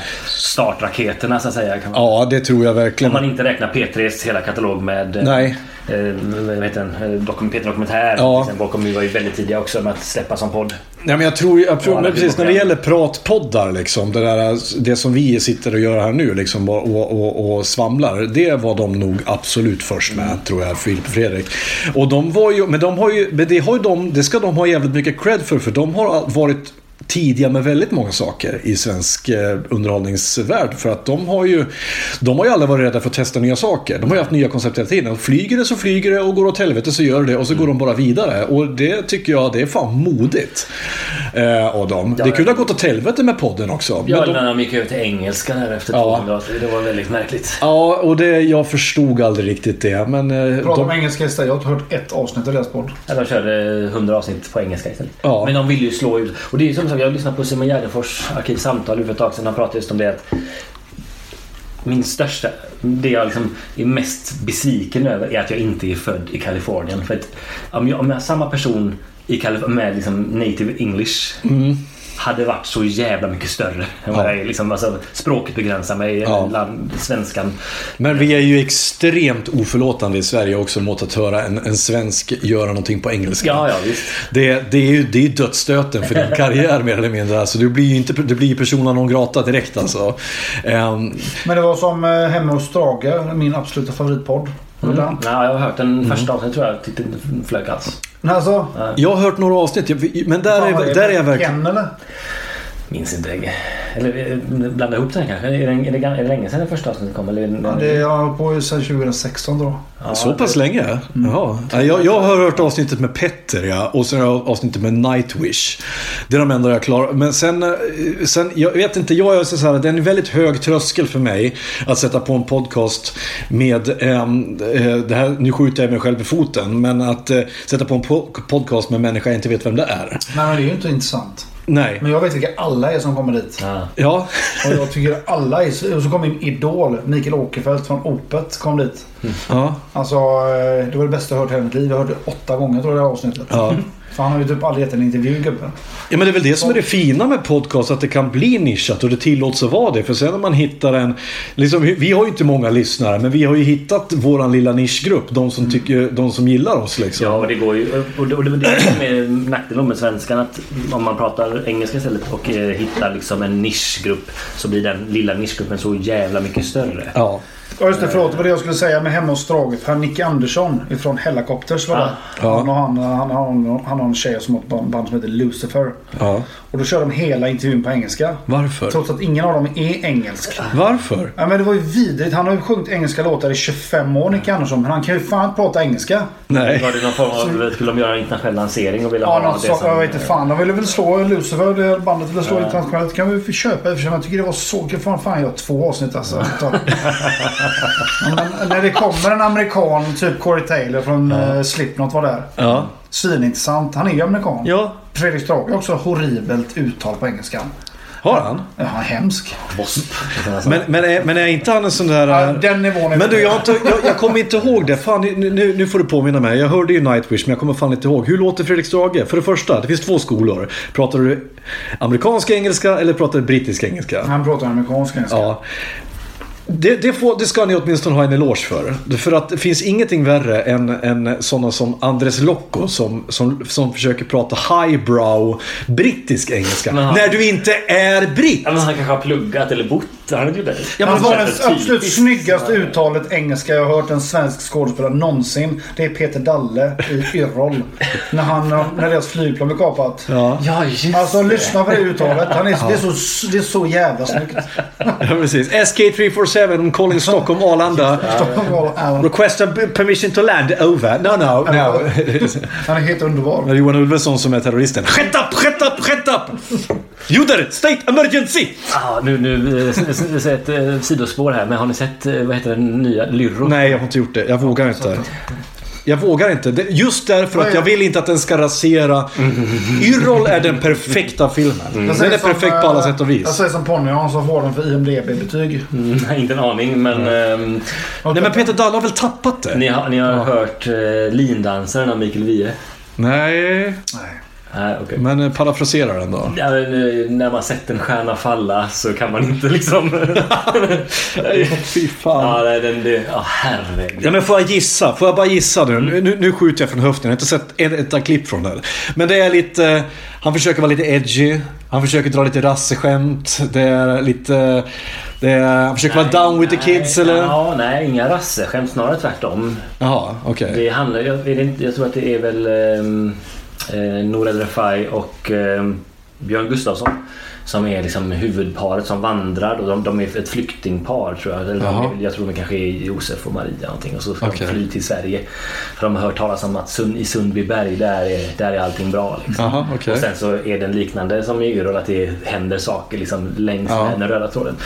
Speaker 2: startraketerna så att säga. Kan man,
Speaker 3: Ja, det tror jag
Speaker 2: Om
Speaker 3: verkligen.
Speaker 2: man inte räknar P3s hela katalog med eh,
Speaker 3: Nej.
Speaker 2: Eh, vad heter den? Eh, Dokum, Peter Dokumentär.
Speaker 3: Ja.
Speaker 2: Ja. Sen bakom vi var ju väldigt tidiga också med att släppa som podd.
Speaker 3: Nej, men jag tror, jag tror
Speaker 2: Ja,
Speaker 3: men
Speaker 2: det
Speaker 3: precis
Speaker 2: blir
Speaker 3: när det
Speaker 2: bra.
Speaker 3: gäller pratpoddar liksom. Det, där, det som vi sitter och gör här nu liksom, och, och, och, och svamlar. Det var de nog absolut först med tror jag, Filip och Fredrik. Och de var ju, men de har ju, men det, har ju de, det ska de ha jävligt mycket cred för. För de har varit tidiga med väldigt många saker i svensk eh, underhållningsvärld. För att de har ju, de har ju aldrig varit rädda för att testa nya saker. De har ju haft nya koncept hela tiden. Flyger det så flyger det och går åt helvete så gör det och så går de bara vidare. Och det tycker jag, det är fan modigt eh, av dem. det kunde ha gått åt helvete med podden också.
Speaker 2: Ja,
Speaker 3: men
Speaker 2: eller
Speaker 3: de,
Speaker 2: när de gick över till engelska där efter
Speaker 3: Ja.
Speaker 2: två avsnitt. Det var väldigt märkligt.
Speaker 3: ja och det, jag förstod aldrig riktigt det. Men eh,
Speaker 1: Prata om
Speaker 3: de,
Speaker 1: engelska istället. Jag har inte hört ett avsnitt av deras podd.
Speaker 2: Ja, de körde 100 avsnitt på engelska istället.
Speaker 3: Ja.
Speaker 2: Men de ville ju slå ut. Och det är ju som sagt, jag lyssnade på Simon Gärdenfors arkivsamtal för ett tag sedan. Han pratade just om det att min största, det jag liksom är mest besviken över är att jag inte är född i Kalifornien. För att om jag, om jag samma person i Kalif- med liksom native English hade varit så jävla mycket större. än vad
Speaker 3: Mm. Ja.
Speaker 2: jag är. Liksom, alltså, språket begränsar mig,
Speaker 3: Ja.
Speaker 2: land, svenskan.
Speaker 3: men vi är ju extremt oförlåtande i Sverige också mot att höra en, en svensk göra någonting på engelska.
Speaker 2: Ja, ja, visst.
Speaker 3: Det, det är ju det är ju dödsstöten för din karriär mer eller mindre. Alltså, du blir ju inte, du blir ju persona non grata direkt alltså. Ehm,
Speaker 1: Men det var som eh, Hemma hos Strage, min absoluta favoritpodd. Mm.
Speaker 2: Ja, jag har hört den första avsnittet tror jag. Jag Tyckte den flög alls.
Speaker 1: Alltså,
Speaker 3: jag har hört några avsnitt, jag- men där
Speaker 1: fan, vad
Speaker 3: är, där är jag verkligen...
Speaker 1: Ken eller?
Speaker 2: Minns inte. Eller eh, blanda ihop den här kanske. Är det, är, det, gam- är det länge sedan det första avsnittet kom? Eller är
Speaker 1: Ja, det jag har hållit på ju sedan 2016 då.
Speaker 2: Ja,
Speaker 3: Så pass länge? Jaha. Nej, Mm. Jag, jag har hört avsnittet med Petter ja, och sen har jag avsnittet med Nightwish. Det är de enda jag klarar. Men sen, eh, sen jag vet inte, jag är så så här, det är en väldigt hög tröskel för mig att sätta på en podcast med, ehm, eh, det här, nu skjuter jag mig själv i foten, men att eh, sätta på en po- podcast med en människa jag inte vet vem det är.
Speaker 1: Nej, men det är ju inte intressant.
Speaker 3: Nej.
Speaker 1: Men jag vet vilka alla är som kommer dit.
Speaker 2: Ja.
Speaker 3: Ja.
Speaker 1: Och jag tycker alla är... så- Och så kom min idol Mikael Åkerfeldt från Opet kom dit.
Speaker 3: ja.
Speaker 1: Alltså, eh, det var det bästa jag hört i hela mitt liv. Jag hörde det åtta gånger tror jag det här avsnittet.
Speaker 3: Ja.
Speaker 1: För han har ju typ aldrig gett en intervju gubben.
Speaker 3: Ja men det är väl det som är det fina med podcast, att det kan bli nischat och det tillåts att vara det. För sen när man hittar en... Liksom, vi- vi har ju inte många lyssnare, men vi har ju hittat våran lilla nischgrupp. De som,
Speaker 1: Mm.
Speaker 3: tycker, de som gillar oss liksom.
Speaker 2: Ja, och det går ju. Och det, och det, det är det som är nackdelen med svenskan. Att om man pratar engelska istället och eh, hittar liksom en nischgrupp så blir den lilla nischgruppen så jävla mycket större.
Speaker 3: Ja.
Speaker 1: Ja just det, förlåt. Det var det jag skulle säga med hemma hos draget. Han Nick Andersson ifrån Hellacopters var där.
Speaker 3: Ja.
Speaker 1: Han, och han, han, han, han har en tjej som har ett band band som heter Lucifer.
Speaker 3: ja.
Speaker 1: Och då kör de hela intervjun på engelska.
Speaker 3: Varför?
Speaker 1: Trots att ingen av dem är engelsk.
Speaker 3: Varför?
Speaker 1: Ja, men det var ju vidrigt. Han har ju sjungit engelska låtar i 25 år Nick Andersson. Men han kan ju fan inte prata engelska.
Speaker 3: Nej.
Speaker 2: Var det någon form av, skulle de göra en internationell lansering och vilja
Speaker 1: Ja,
Speaker 2: ha
Speaker 1: något
Speaker 2: det
Speaker 1: så,
Speaker 2: som...
Speaker 1: jag vet inte fan. De ville väl slå Lucifer, det bandet ville slå internationellt. Det kan vi ju köpa i och för sig. Men jag tycker det var så kul. Fan, fan jag har två avsnitt alltså. Ja, men när det kommer en amerikan, typ Corey Taylor från eh, Slipknot var där.
Speaker 3: Ja.
Speaker 1: Svinintressant. Han är ju amerikan.
Speaker 3: Ja.
Speaker 1: Fredrik Strage har också horribelt uttal på engelskan.
Speaker 3: Har han?
Speaker 1: Ja, han är hemsk.
Speaker 2: Wasp.
Speaker 3: Men, men, är, men är inte han en sån där...
Speaker 1: Ja, den nivån är
Speaker 3: Men du, jag, har inte, jag, jag kommer inte ihåg det. Fan, nu, nu, nu får du påminna mig. Jag hörde ju Nightwish, men jag kommer fan inte ihåg. Hur låter Fredrik Strage? För det första, det finns två skolor. Pratar du amerikansk engelska eller pratar du brittisk engelska?
Speaker 1: Han pratar amerikansk engelska.
Speaker 3: Ja. Det, det, får, det ska ni åtminstone ha en eloge för. För att det finns ingenting värre än, än sådana som Andres Locco som, som, som försöker prata highbrow brittisk engelska.
Speaker 2: Men han-
Speaker 3: När du inte är britt!
Speaker 2: Ja, men han kanske har pluggat eller bott. Han har gjort det.
Speaker 3: Ja, men
Speaker 1: Han har
Speaker 3: var
Speaker 1: det
Speaker 2: Typiskt.
Speaker 1: absolut snyggaste uttalet engelska jag har hört en svensk skådespelare någonsin. Det är Peter Dalle i Yrrol. när, han, när deras flygplan blev kapat.
Speaker 2: Ja, just
Speaker 1: Alltså
Speaker 2: det.
Speaker 1: lyssna på det uttalet. Han är, det, är så, det är så jävla snyggt.
Speaker 3: Ja, precis. SK347 calling Stockholm Arlanda.
Speaker 1: Alan.
Speaker 3: Request a permission to land over. No, no, no.
Speaker 1: Han är helt underbar.
Speaker 3: Det är Johan Ulveson som är terroristen. Shut up, shut up, shut up! Judar, state emergency!
Speaker 2: Ah, nu nu eh, s- s- s- ett eh, sidospår här. Men har ni sett eh, vad heter den nya Lyro?
Speaker 3: Nej, jag har inte gjort det. Jag vågar inte. Jag vågar inte. Det- Just därför att jag vill inte att den ska rasera. Yrrol är den perfekta filmen.
Speaker 1: Jag
Speaker 3: Den
Speaker 1: säger
Speaker 3: är
Speaker 1: som,
Speaker 3: perfekt på alla
Speaker 1: eh,
Speaker 3: sätt och
Speaker 1: Jag
Speaker 3: vis. Mm.
Speaker 1: säger som Ponny Hans som får den för IMDB-betyg.
Speaker 2: Nej, inte en aning. Men ehm,
Speaker 3: Nej, men Peter Dalle har väl tappat det?
Speaker 2: ni har, ni har hört eh, lindansaren av Mikael Wiehe?
Speaker 3: Nej,
Speaker 1: Nej.
Speaker 2: Nej, okej.
Speaker 3: men eh, parafrasera den då.
Speaker 2: Ja, men, eh, när man sett en stjärna falla så kan man inte liksom...
Speaker 3: Fy fan.
Speaker 2: ja, nej, den, det, ja, herregud.
Speaker 3: Ja, men får jag gissa? Får jag bara gissa nu? Nu, nu skjuter jag från höften. Jag har inte sett ett enda klipp från den. Men det är lite... eh, Han försöker vara lite edgy. Han försöker dra lite rasseskämt. Det är lite... eh, Det är, han försöker vara down with the kids
Speaker 2: nej,
Speaker 3: eller?
Speaker 2: Ja, nej, inga rasseskämt. Snarare tvärtom.
Speaker 3: Jaha, okej.
Speaker 2: Det handlar, jag, är det inte, jag tror att det är väl ehm, eh, Nour El Refai och ehm, Björn Gustafsson som är liksom huvudparet som vandrar. Och de, de är ett flyktingpar tror jag. Eller
Speaker 3: Jaha.
Speaker 2: de, jag tror de kanske är Josef och Maria någonting. Och så ska
Speaker 3: Okej.
Speaker 2: de fly till Sverige. För de har hört talas om att Sund, i Sundbyberg där är, där är allting bra. Liksom.
Speaker 3: Jaha, okej.
Speaker 2: Och sen så är den liknande som i Yrrol att det händer saker liksom, längs
Speaker 3: Ja.
Speaker 2: med den röda tråden.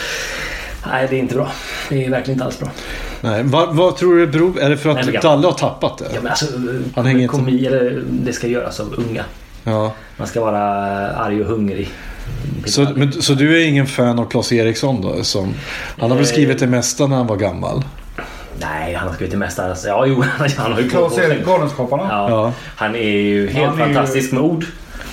Speaker 2: Nej, det är inte bra. Det är verkligen inte alls bra.
Speaker 3: Nej, vad, vad tror du det beror Är det för
Speaker 2: Nej,
Speaker 3: att
Speaker 2: men jag-
Speaker 3: Dalle har tappat det?
Speaker 2: Ja, men alltså,
Speaker 3: Han hänger inte-
Speaker 2: komi, eller, det ska göras av unga.
Speaker 3: Ja.
Speaker 2: Man ska vara arg och hungrig. Typ.
Speaker 3: Så, men, så du är ingen fan av Claes Eriksson då? Som, han har väl
Speaker 2: Eh.
Speaker 3: skrivit det mesta när han var gammal?
Speaker 2: Nej, han har skrivit det mesta. Alltså, ja, jo, han har ju koll på
Speaker 1: Claes Erik,
Speaker 2: sig.
Speaker 1: Galenskaparna.
Speaker 2: Ja,
Speaker 3: Ja.
Speaker 2: Han är ju helt
Speaker 1: Han är ju-
Speaker 2: fantastisk med ord.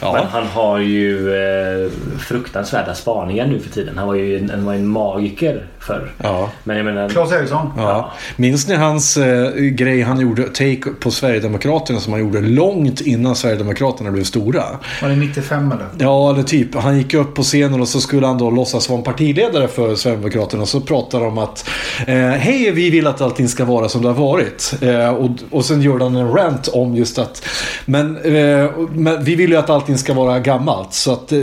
Speaker 3: Ja.
Speaker 2: Men han har ju eh, fruktansvärda spaningar nu för tiden. Han var ju en, han var ju en magiker förr.
Speaker 3: Ja.
Speaker 2: Men jag menar...
Speaker 1: Claes Eriksson.
Speaker 3: Ja. Minns ni hans eh, grej han gjorde, take på Sverigedemokraterna som han gjorde långt innan Sverigedemokraterna blev stora?
Speaker 1: Var det 95 eller?
Speaker 3: Ja, eller typ. Han gick upp på scenen och så skulle han då låtsas vara en partiledare för Sverigedemokraterna. Och så pratade de om att eh, hej, vi vill att allting ska vara som det har varit. Eh, och, och sen gjorde han en rant om just att men, eh, men vi vill ju att allting allting ska vara gammalt. Så att, eh,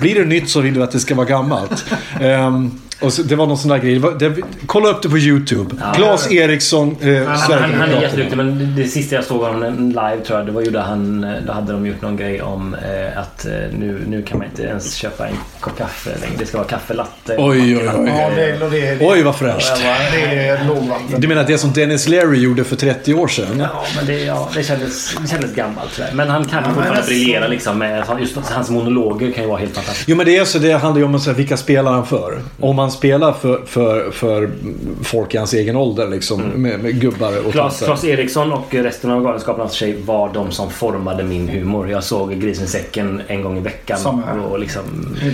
Speaker 3: blir det nytt så vill vi att det ska vara gammalt. Ehm, och så, det var någon sån där grej. Det var, det, kolla upp det på YouTube. Claes Eriksson, eh,
Speaker 2: Han, han, han, han är
Speaker 3: Sverigedemokraterna.
Speaker 2: jätteduktig men det, det sista jag såg av honom live tror jag det var ju där han, eh, då hade de gjort någon grej om eh, att eh, nu, nu kan man inte ens köpa en kopp kaffe längre. Det ska vara kaffelatte.
Speaker 3: Oj, oj, oj.
Speaker 1: Ja, det, är- det, är-
Speaker 3: Oj, vad fräscht.
Speaker 1: det är lågvatten.
Speaker 3: Du menar det som Dennis Leary gjorde för 30 år sedan?
Speaker 2: Ja, men det, ja, det, kändes, det kändes gammalt tyvärr. Men han kan fortfarande
Speaker 1: alltså-
Speaker 2: briljera liksom med just hans monologer kan ju vara helt fantastiska.
Speaker 3: Jo men det, är så, det handlar ju om så här, vilka spelar han för. Om han spelar för, för, för folk i hans egen ålder liksom.
Speaker 2: Mm.
Speaker 3: Med, med gubbar och
Speaker 2: Claes,
Speaker 3: tanter.
Speaker 2: Claes Eriksson och resten av Galenskaparnas tjej var de som formade min humor. Jag såg Grisen i säcken en gång i veckan.
Speaker 1: Som här.
Speaker 2: och liksom,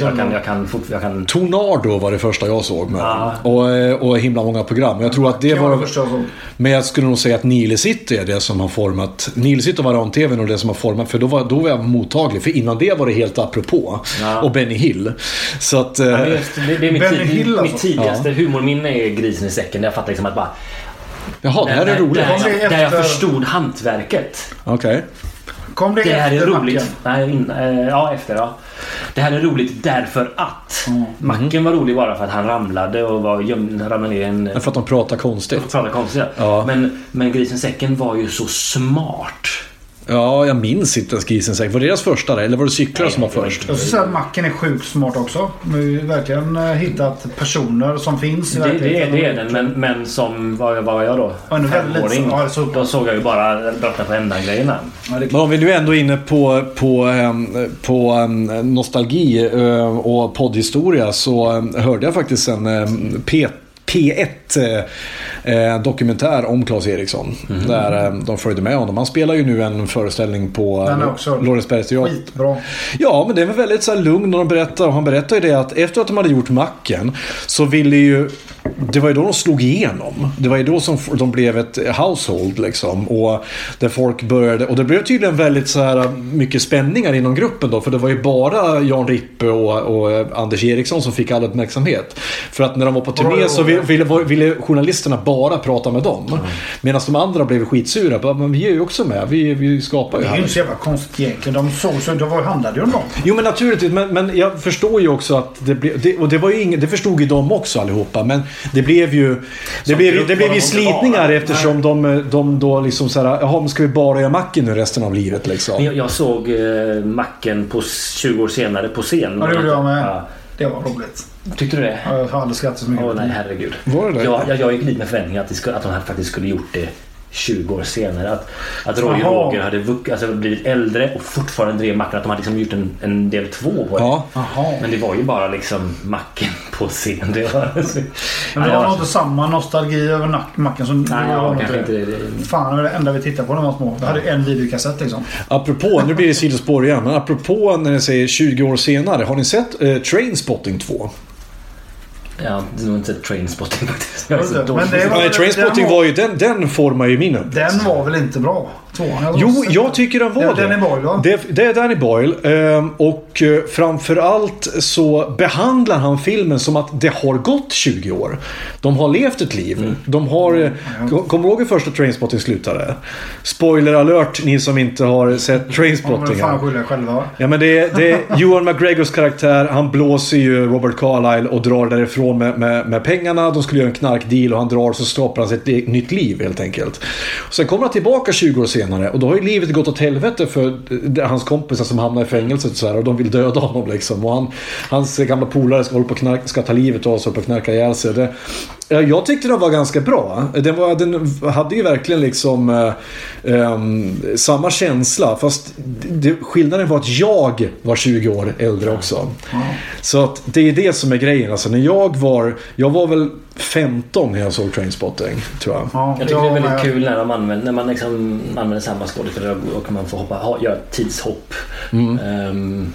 Speaker 2: jag kan, jag kan, fort, jag kan
Speaker 3: Tornado var det första jag såg med
Speaker 2: Ja.
Speaker 3: och, eh, och himla många program. Jag tror att det
Speaker 1: Det var det
Speaker 3: var...
Speaker 1: första jag såg.
Speaker 3: Men jag skulle nog säga att Nile City är det som har format... Nile City och Varan-TVn och det som har format... För då var, då var jag mottaglig. För innan det var det helt apropå.
Speaker 2: Ja.
Speaker 3: Och Benny Hill. Så att... eh,
Speaker 2: Ja, men just, det, det är mitt,
Speaker 1: Benny
Speaker 2: tid,
Speaker 1: Hill,
Speaker 2: mitt
Speaker 1: alltså.
Speaker 2: tidigaste humorminne är grisen i säcken. Där jag fattar liksom att bara...
Speaker 3: jaha, det här är roligt.
Speaker 2: Där,
Speaker 1: Kom det
Speaker 2: där, där jag
Speaker 1: efter-
Speaker 2: förstod hantverket.
Speaker 3: Okej.
Speaker 1: Kom det,
Speaker 2: Det här är
Speaker 1: efter
Speaker 2: roligt.
Speaker 1: macken?
Speaker 2: Nej, in, eh, ja, efter ja. Det här är roligt därför att.
Speaker 1: Mm.
Speaker 2: Macken var rolig bara för att han ramlade och var gömd, ramlade ner i en...
Speaker 3: För att de pratar konstigt.
Speaker 2: Pratar konstigt.
Speaker 3: Mm. Ja.
Speaker 2: Men, men grisen i säcken var ju så smart.
Speaker 3: Ja, jag minns inte ens grisen säkert. Var det deras första där? Eller var det cyklar
Speaker 2: Nej,
Speaker 3: som var
Speaker 2: det var
Speaker 3: först?
Speaker 1: Jag skulle säga att macken är sjukt smart också. De har ju verkligen eh, hittat personer som finns i
Speaker 2: Det, det, är-
Speaker 1: verkligheten.
Speaker 2: det är den. Men, men som, vad vad var jag då?
Speaker 1: Ja, nu väldigt
Speaker 2: Femåring.
Speaker 1: så- ja, så-
Speaker 2: Då såg jag ju bara brotta på ändan-grejerna.
Speaker 3: Men om vi nu ändå är inne på, på, ehm, på ehm, nostalgi eh, och poddhistoria så ehm, hörde jag faktiskt en ehm, P P1 eh, eh, dokumentär om Claes Eriksson.
Speaker 1: Mhm.
Speaker 3: Där eh, de följde med honom. Han spelar ju nu en föreställning på
Speaker 1: Den är
Speaker 3: eh,
Speaker 1: också
Speaker 3: Lorensbergsteatern.
Speaker 1: Skitbra.
Speaker 3: Ja, men det var väldigt så här lugn när de berättar. Och han berättar ju det att efter att de hade gjort macken så ville ju... Det var ju då de slog igenom. Det var ju då som f- de blev ett household liksom. Och där folk började... Och det blev tydligen väldigt så här mycket spänningar inom gruppen då. För det var ju bara Jan Rippe och, och Anders Eriksson som fick all uppmärksamhet. För att när de var på turné så ville, ville, ville journalisterna bara prata med dem. Medan de andra blev skitsura. Bara, Men vi är ju också med. Vi, vi skapar ju
Speaker 1: Det är
Speaker 3: här.
Speaker 1: ju inte så jävla konstigt egentligen. De såg så... Det var- handlade ju om dem.
Speaker 3: Jo men naturligtvis, men, men jag förstår ju också att det blev... Det, och det, var ju ingen, det förstod ju de också allihopa, men det blev ju... Det, blev, ju-
Speaker 2: grupp
Speaker 3: det blev
Speaker 2: var de
Speaker 3: ju
Speaker 2: inte
Speaker 3: slitningar
Speaker 2: bara.
Speaker 3: eftersom de, de då liksom såhär... Jaha, men ska vi bara göra macken nu resten av livet
Speaker 2: Men
Speaker 3: liksom?
Speaker 2: Jag, jag såg eh, Macken på s- 20 år senare på scen.
Speaker 1: Ja, det gjorde jag med.
Speaker 2: Ja.
Speaker 1: Det var roligt.
Speaker 2: Tyckte du det?
Speaker 1: Ja, Jag har aldrig skrattat så
Speaker 2: Åh
Speaker 1: mycket.
Speaker 2: nej, herregud.
Speaker 3: Var det det?
Speaker 2: Jag, jag, jag gick dit med förväntningar att, det skulle, att de här faktiskt skulle gjort det 20 år senare. Att, att Roy och
Speaker 1: Jaha.
Speaker 2: Roger hade vuck, alltså, blivit äldre och fortfarande drev Macken. Att de hade liksom gjort en, en del två på det.
Speaker 3: Ja.
Speaker 1: Jaha.
Speaker 2: Men det var ju bara liksom Macken på scen. Det var,
Speaker 1: Men det var nog inte samma nostalgi över nack- macken som
Speaker 2: Nej,
Speaker 1: det
Speaker 2: ja,
Speaker 1: var nog
Speaker 2: kanske
Speaker 1: inte.
Speaker 2: inte det. Det-
Speaker 1: Fan, det var det enda vi tittade på när vi var små. Vi hade en videokassett liksom.
Speaker 3: Apropå, nu blir det sidospår igen, men apropå när ni säger 20 år senare. Har ni sett eh, Trainspotting 2?
Speaker 2: Ja, det var inte Trainspotting faktiskt. Jag är så
Speaker 1: Men
Speaker 2: dålig.
Speaker 1: det var-
Speaker 3: Nej, Trainspotting
Speaker 1: den
Speaker 3: var ju... Den, den formar ju min uppväxt.
Speaker 1: Den var väl inte bra? Tvåan? Jag
Speaker 3: Jo,
Speaker 1: måste-
Speaker 3: jag tycker den var
Speaker 1: Det
Speaker 3: det.
Speaker 1: är Danny Boyle, va?
Speaker 3: Det, det är Danny Boyle. ehm, Och eh, framförallt så behandlar han filmen som att det har gått 20 år. De har levt ett liv.
Speaker 1: Mm.
Speaker 3: De har... eh, kom- Kommer du ihåg hur första Trainspotting slutade? Spoiler alert ni som inte har sett
Speaker 1: De är
Speaker 3: Trainspotting.
Speaker 1: fan
Speaker 3: här.
Speaker 1: skyldiga själva. va?
Speaker 3: Ja men det är, det är Johan McGregors karaktär. Han blåser ju Robert Carlyle och drar därifrån med, med, med pengarna. De skulle göra en knarkdeal och han drar så skapar han sig ett e- nytt liv helt enkelt. Sen kommer han tillbaka 20 år senare och då har ju livet gått åt helvete för eh, det- hans kompisar som hamnar i fängelset och, så här, och de vill döda honom liksom. Och han, hans gamla polare ska, hålla på och knark, ska ta livet av sig och hålla på och knarka ihjäl sig. Det, Ja, Jag tyckte den var ganska bra. Den, var, den hade ju verkligen liksom eh, ehm, samma känsla. Fast det, skillnaden var att jag var 20 år äldre också. Så att det är det som är grejen. Alltså, när jag, var, jag var väl 15 när jag såg Trainspotting, tror jag.
Speaker 1: Ja,
Speaker 2: Jag tycker det är
Speaker 1: men-
Speaker 2: väldigt kul när, de använder, när man liksom använder samma skådespelare och man får hoppa, ha, göra ett tidshopp. Ehm,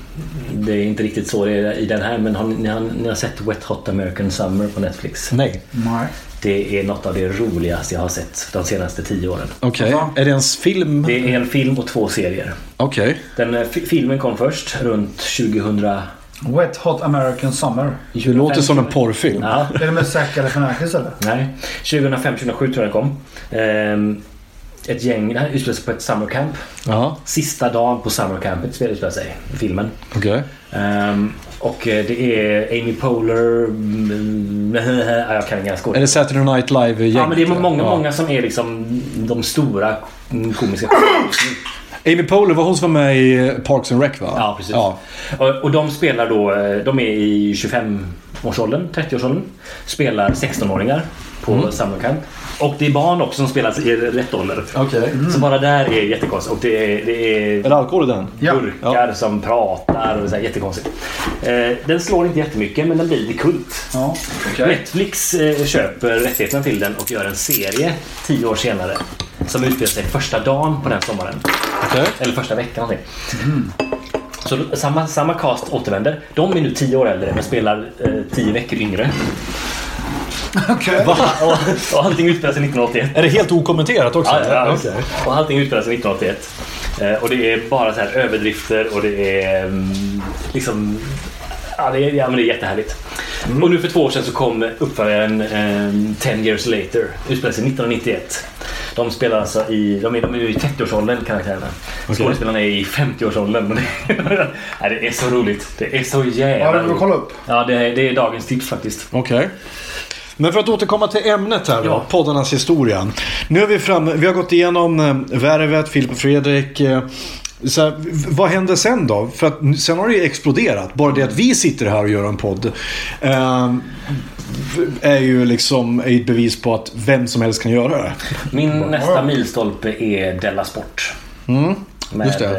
Speaker 2: det är inte riktigt så det är i den här men har ni, ni, har, ni har sett Wet Hot American Summer på Netflix?
Speaker 3: Nej.
Speaker 1: Nej.
Speaker 2: Det är något av det roligaste jag har sett de senaste tio åren.
Speaker 3: Okej.
Speaker 1: Alltså.
Speaker 3: Är det ens film?
Speaker 2: Det är en film och två serier.
Speaker 3: Okej.
Speaker 2: Den, eh, fi- filmen kom först runt 2000
Speaker 1: Wet Hot American Summer.
Speaker 3: Det låter som en porrfilm.
Speaker 2: Ja,
Speaker 1: Är det med Zac Galifianakis eller?
Speaker 2: Nej, 2005-2007 tror jag den kom. Ehm, ett gäng. Det här utspelar sig på ett summercamp.
Speaker 3: Ja,
Speaker 2: Sista dagen på summercampet spelar utspelar sig filmen.
Speaker 3: okej.
Speaker 2: Ehm, och eh, det är Amy Poehler... mm, ja, jag kan inga
Speaker 3: Är
Speaker 2: skådespelare.
Speaker 3: det Saturday Night live
Speaker 2: Ja, men det är många, många som är liksom de stora komiska
Speaker 3: Amy Poehler var hon som var med i Parks and Rec va?
Speaker 2: Ja, precis. Och, och de spelar då, eh, de är i 25-årsåldern, 30-årsåldern. Spelar 16-åringar på summer camp. Och det är barn också som spelas i rätt ålder.
Speaker 3: Okej.
Speaker 2: Så bara där är jättekonstigt. Och det är, det
Speaker 3: Är
Speaker 2: är
Speaker 3: det alkohol i den?
Speaker 1: Ja.
Speaker 2: burkar som pratar och så här, jättekonstigt. Eh, den slår inte jättemycket men den blir lite kult.
Speaker 1: Ja.
Speaker 2: Netflix eh, köper rättigheterna till den och gör en serie tio år senare. Som utspelar sig första dagen på den sommaren.
Speaker 3: Okej.
Speaker 2: Eller första veckan någonting. Så då- samma, samma cast återvänder. De är nu tio år äldre men spelar eh, tio veckor yngre.
Speaker 1: Okej.
Speaker 2: Och, och allting utspelar sig 1981.
Speaker 3: Är det helt okommenterat också?
Speaker 2: Ja, ja, ja.
Speaker 3: Okej.
Speaker 2: Och allting utspelar sig 1981. Eh, och det är bara så här överdrifter och det är mm, liksom... Ja, det är, ja, men det är jättehärligt.
Speaker 1: Mm.
Speaker 2: Och nu för två år sedan så kom uppföljaren eh, 10 years later. Utspelar sig 1991. De spelar alltså i, de är, de är ju i 30-årsåldern karaktärerna. Skådespelarna är i 50-årsåldern. Och det- Nej, det är så roligt. Det är så
Speaker 1: Ja,
Speaker 2: jävla
Speaker 1: det får vi
Speaker 2: roligt.
Speaker 1: kolla upp.
Speaker 2: Ja, det är, det är dagens tips faktiskt.
Speaker 3: Okej. Men för att återkomma till ämnet här då,
Speaker 2: Ja.
Speaker 3: poddarnas historia. Nu är vi framme, vi har gått igenom eh, Värvet, Filip och Fredrik. eh, Så här, v- vad hände sen då? För att n- sen har det ju exploderat. Bara det att vi sitter här och gör en podd eh, är ju liksom är ett bevis på att vem som helst kan göra det.
Speaker 2: Min nästa milstolpe är Della Sport. med
Speaker 3: Mm, just
Speaker 2: Eh,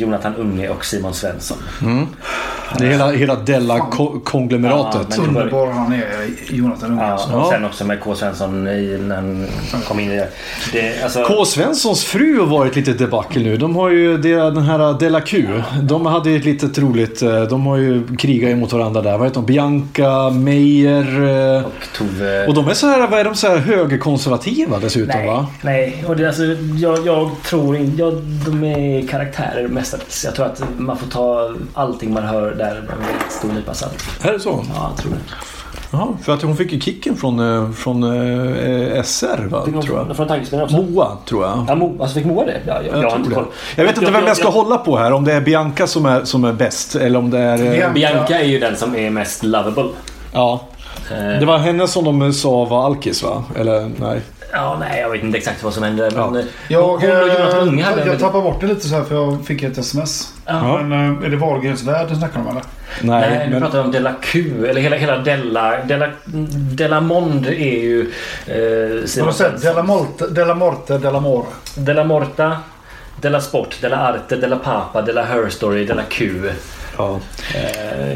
Speaker 2: Jonathan Unge och Simon Svensson.
Speaker 3: Det är hela, hela Della-konglomeratet.
Speaker 2: Ja, men-
Speaker 1: Underbar han är, Jonathan Unge.
Speaker 2: Ja,
Speaker 1: alltså.
Speaker 2: och sen också med K. Svensson i, när han kom in i det. det alltså,
Speaker 3: Mm. K. Svenssons fru har varit lite debacle nu. De har ju det, den här Della Q. De hade ett litet roligt... eh, De har ju krigat emot varandra där. Vad heter de? Bianca, Meyer... eh,
Speaker 2: och Tove...
Speaker 3: Och de är så här, vad är de så här högerkonservativa dessutom
Speaker 2: nej,
Speaker 3: va?
Speaker 2: nej. Och det, alltså, jag, jag tror inte... Jag, de är karaktärer mestadels. Jag tror att man får ta allting man hör där med en väldigt stor nypa salt.
Speaker 3: Är det så?
Speaker 2: Ja, jag tror det.
Speaker 3: Jaha, för att hon fick ju kicken från, eh, från eh, SR va?
Speaker 2: Fick någon
Speaker 3: Tror
Speaker 2: från,
Speaker 3: jag.
Speaker 2: från tankesmedjan också?
Speaker 3: Moa, tror jag.
Speaker 2: Ja, Mo, alltså fick Moa det? Ja, jag, jag, har
Speaker 3: tror
Speaker 2: inte
Speaker 3: det.
Speaker 2: koll.
Speaker 3: jag vet inte vem jag ska
Speaker 2: jag-
Speaker 3: hålla på här. Om det är Bianca som är, som är bäst eller om det är... Eh,
Speaker 1: Ja.
Speaker 2: Bianca är ju den som är mest lovable.
Speaker 3: ja.
Speaker 2: Eh,
Speaker 3: Det var henne som de sa var alkis va? Eller nej?
Speaker 2: Ja, nej, jag vet inte exakt vad som hände. Men
Speaker 3: Ja.
Speaker 2: eh,
Speaker 1: Jag,
Speaker 2: hon och Jonas Unge
Speaker 1: jag,
Speaker 2: hade
Speaker 1: jag
Speaker 2: en-
Speaker 1: tappade bort det lite så här för jag fick ett sms.
Speaker 3: Ja.
Speaker 1: Men eh, är det Wahlgrens värld du snackar om eller?
Speaker 3: Nej,
Speaker 2: Nej, nu
Speaker 3: men...
Speaker 2: pratar vi om Della Q. Eller hela, hela Della... Della, Della Mond är ju... Eh,
Speaker 1: Har
Speaker 2: Simon
Speaker 1: du sett
Speaker 2: Svensson.
Speaker 1: Della Morte, Della Morte, Della More?
Speaker 2: Della Morta. Della Sport, Della Arte, Della Papa, Della Her Story, Della Q. Eh,
Speaker 3: Ja.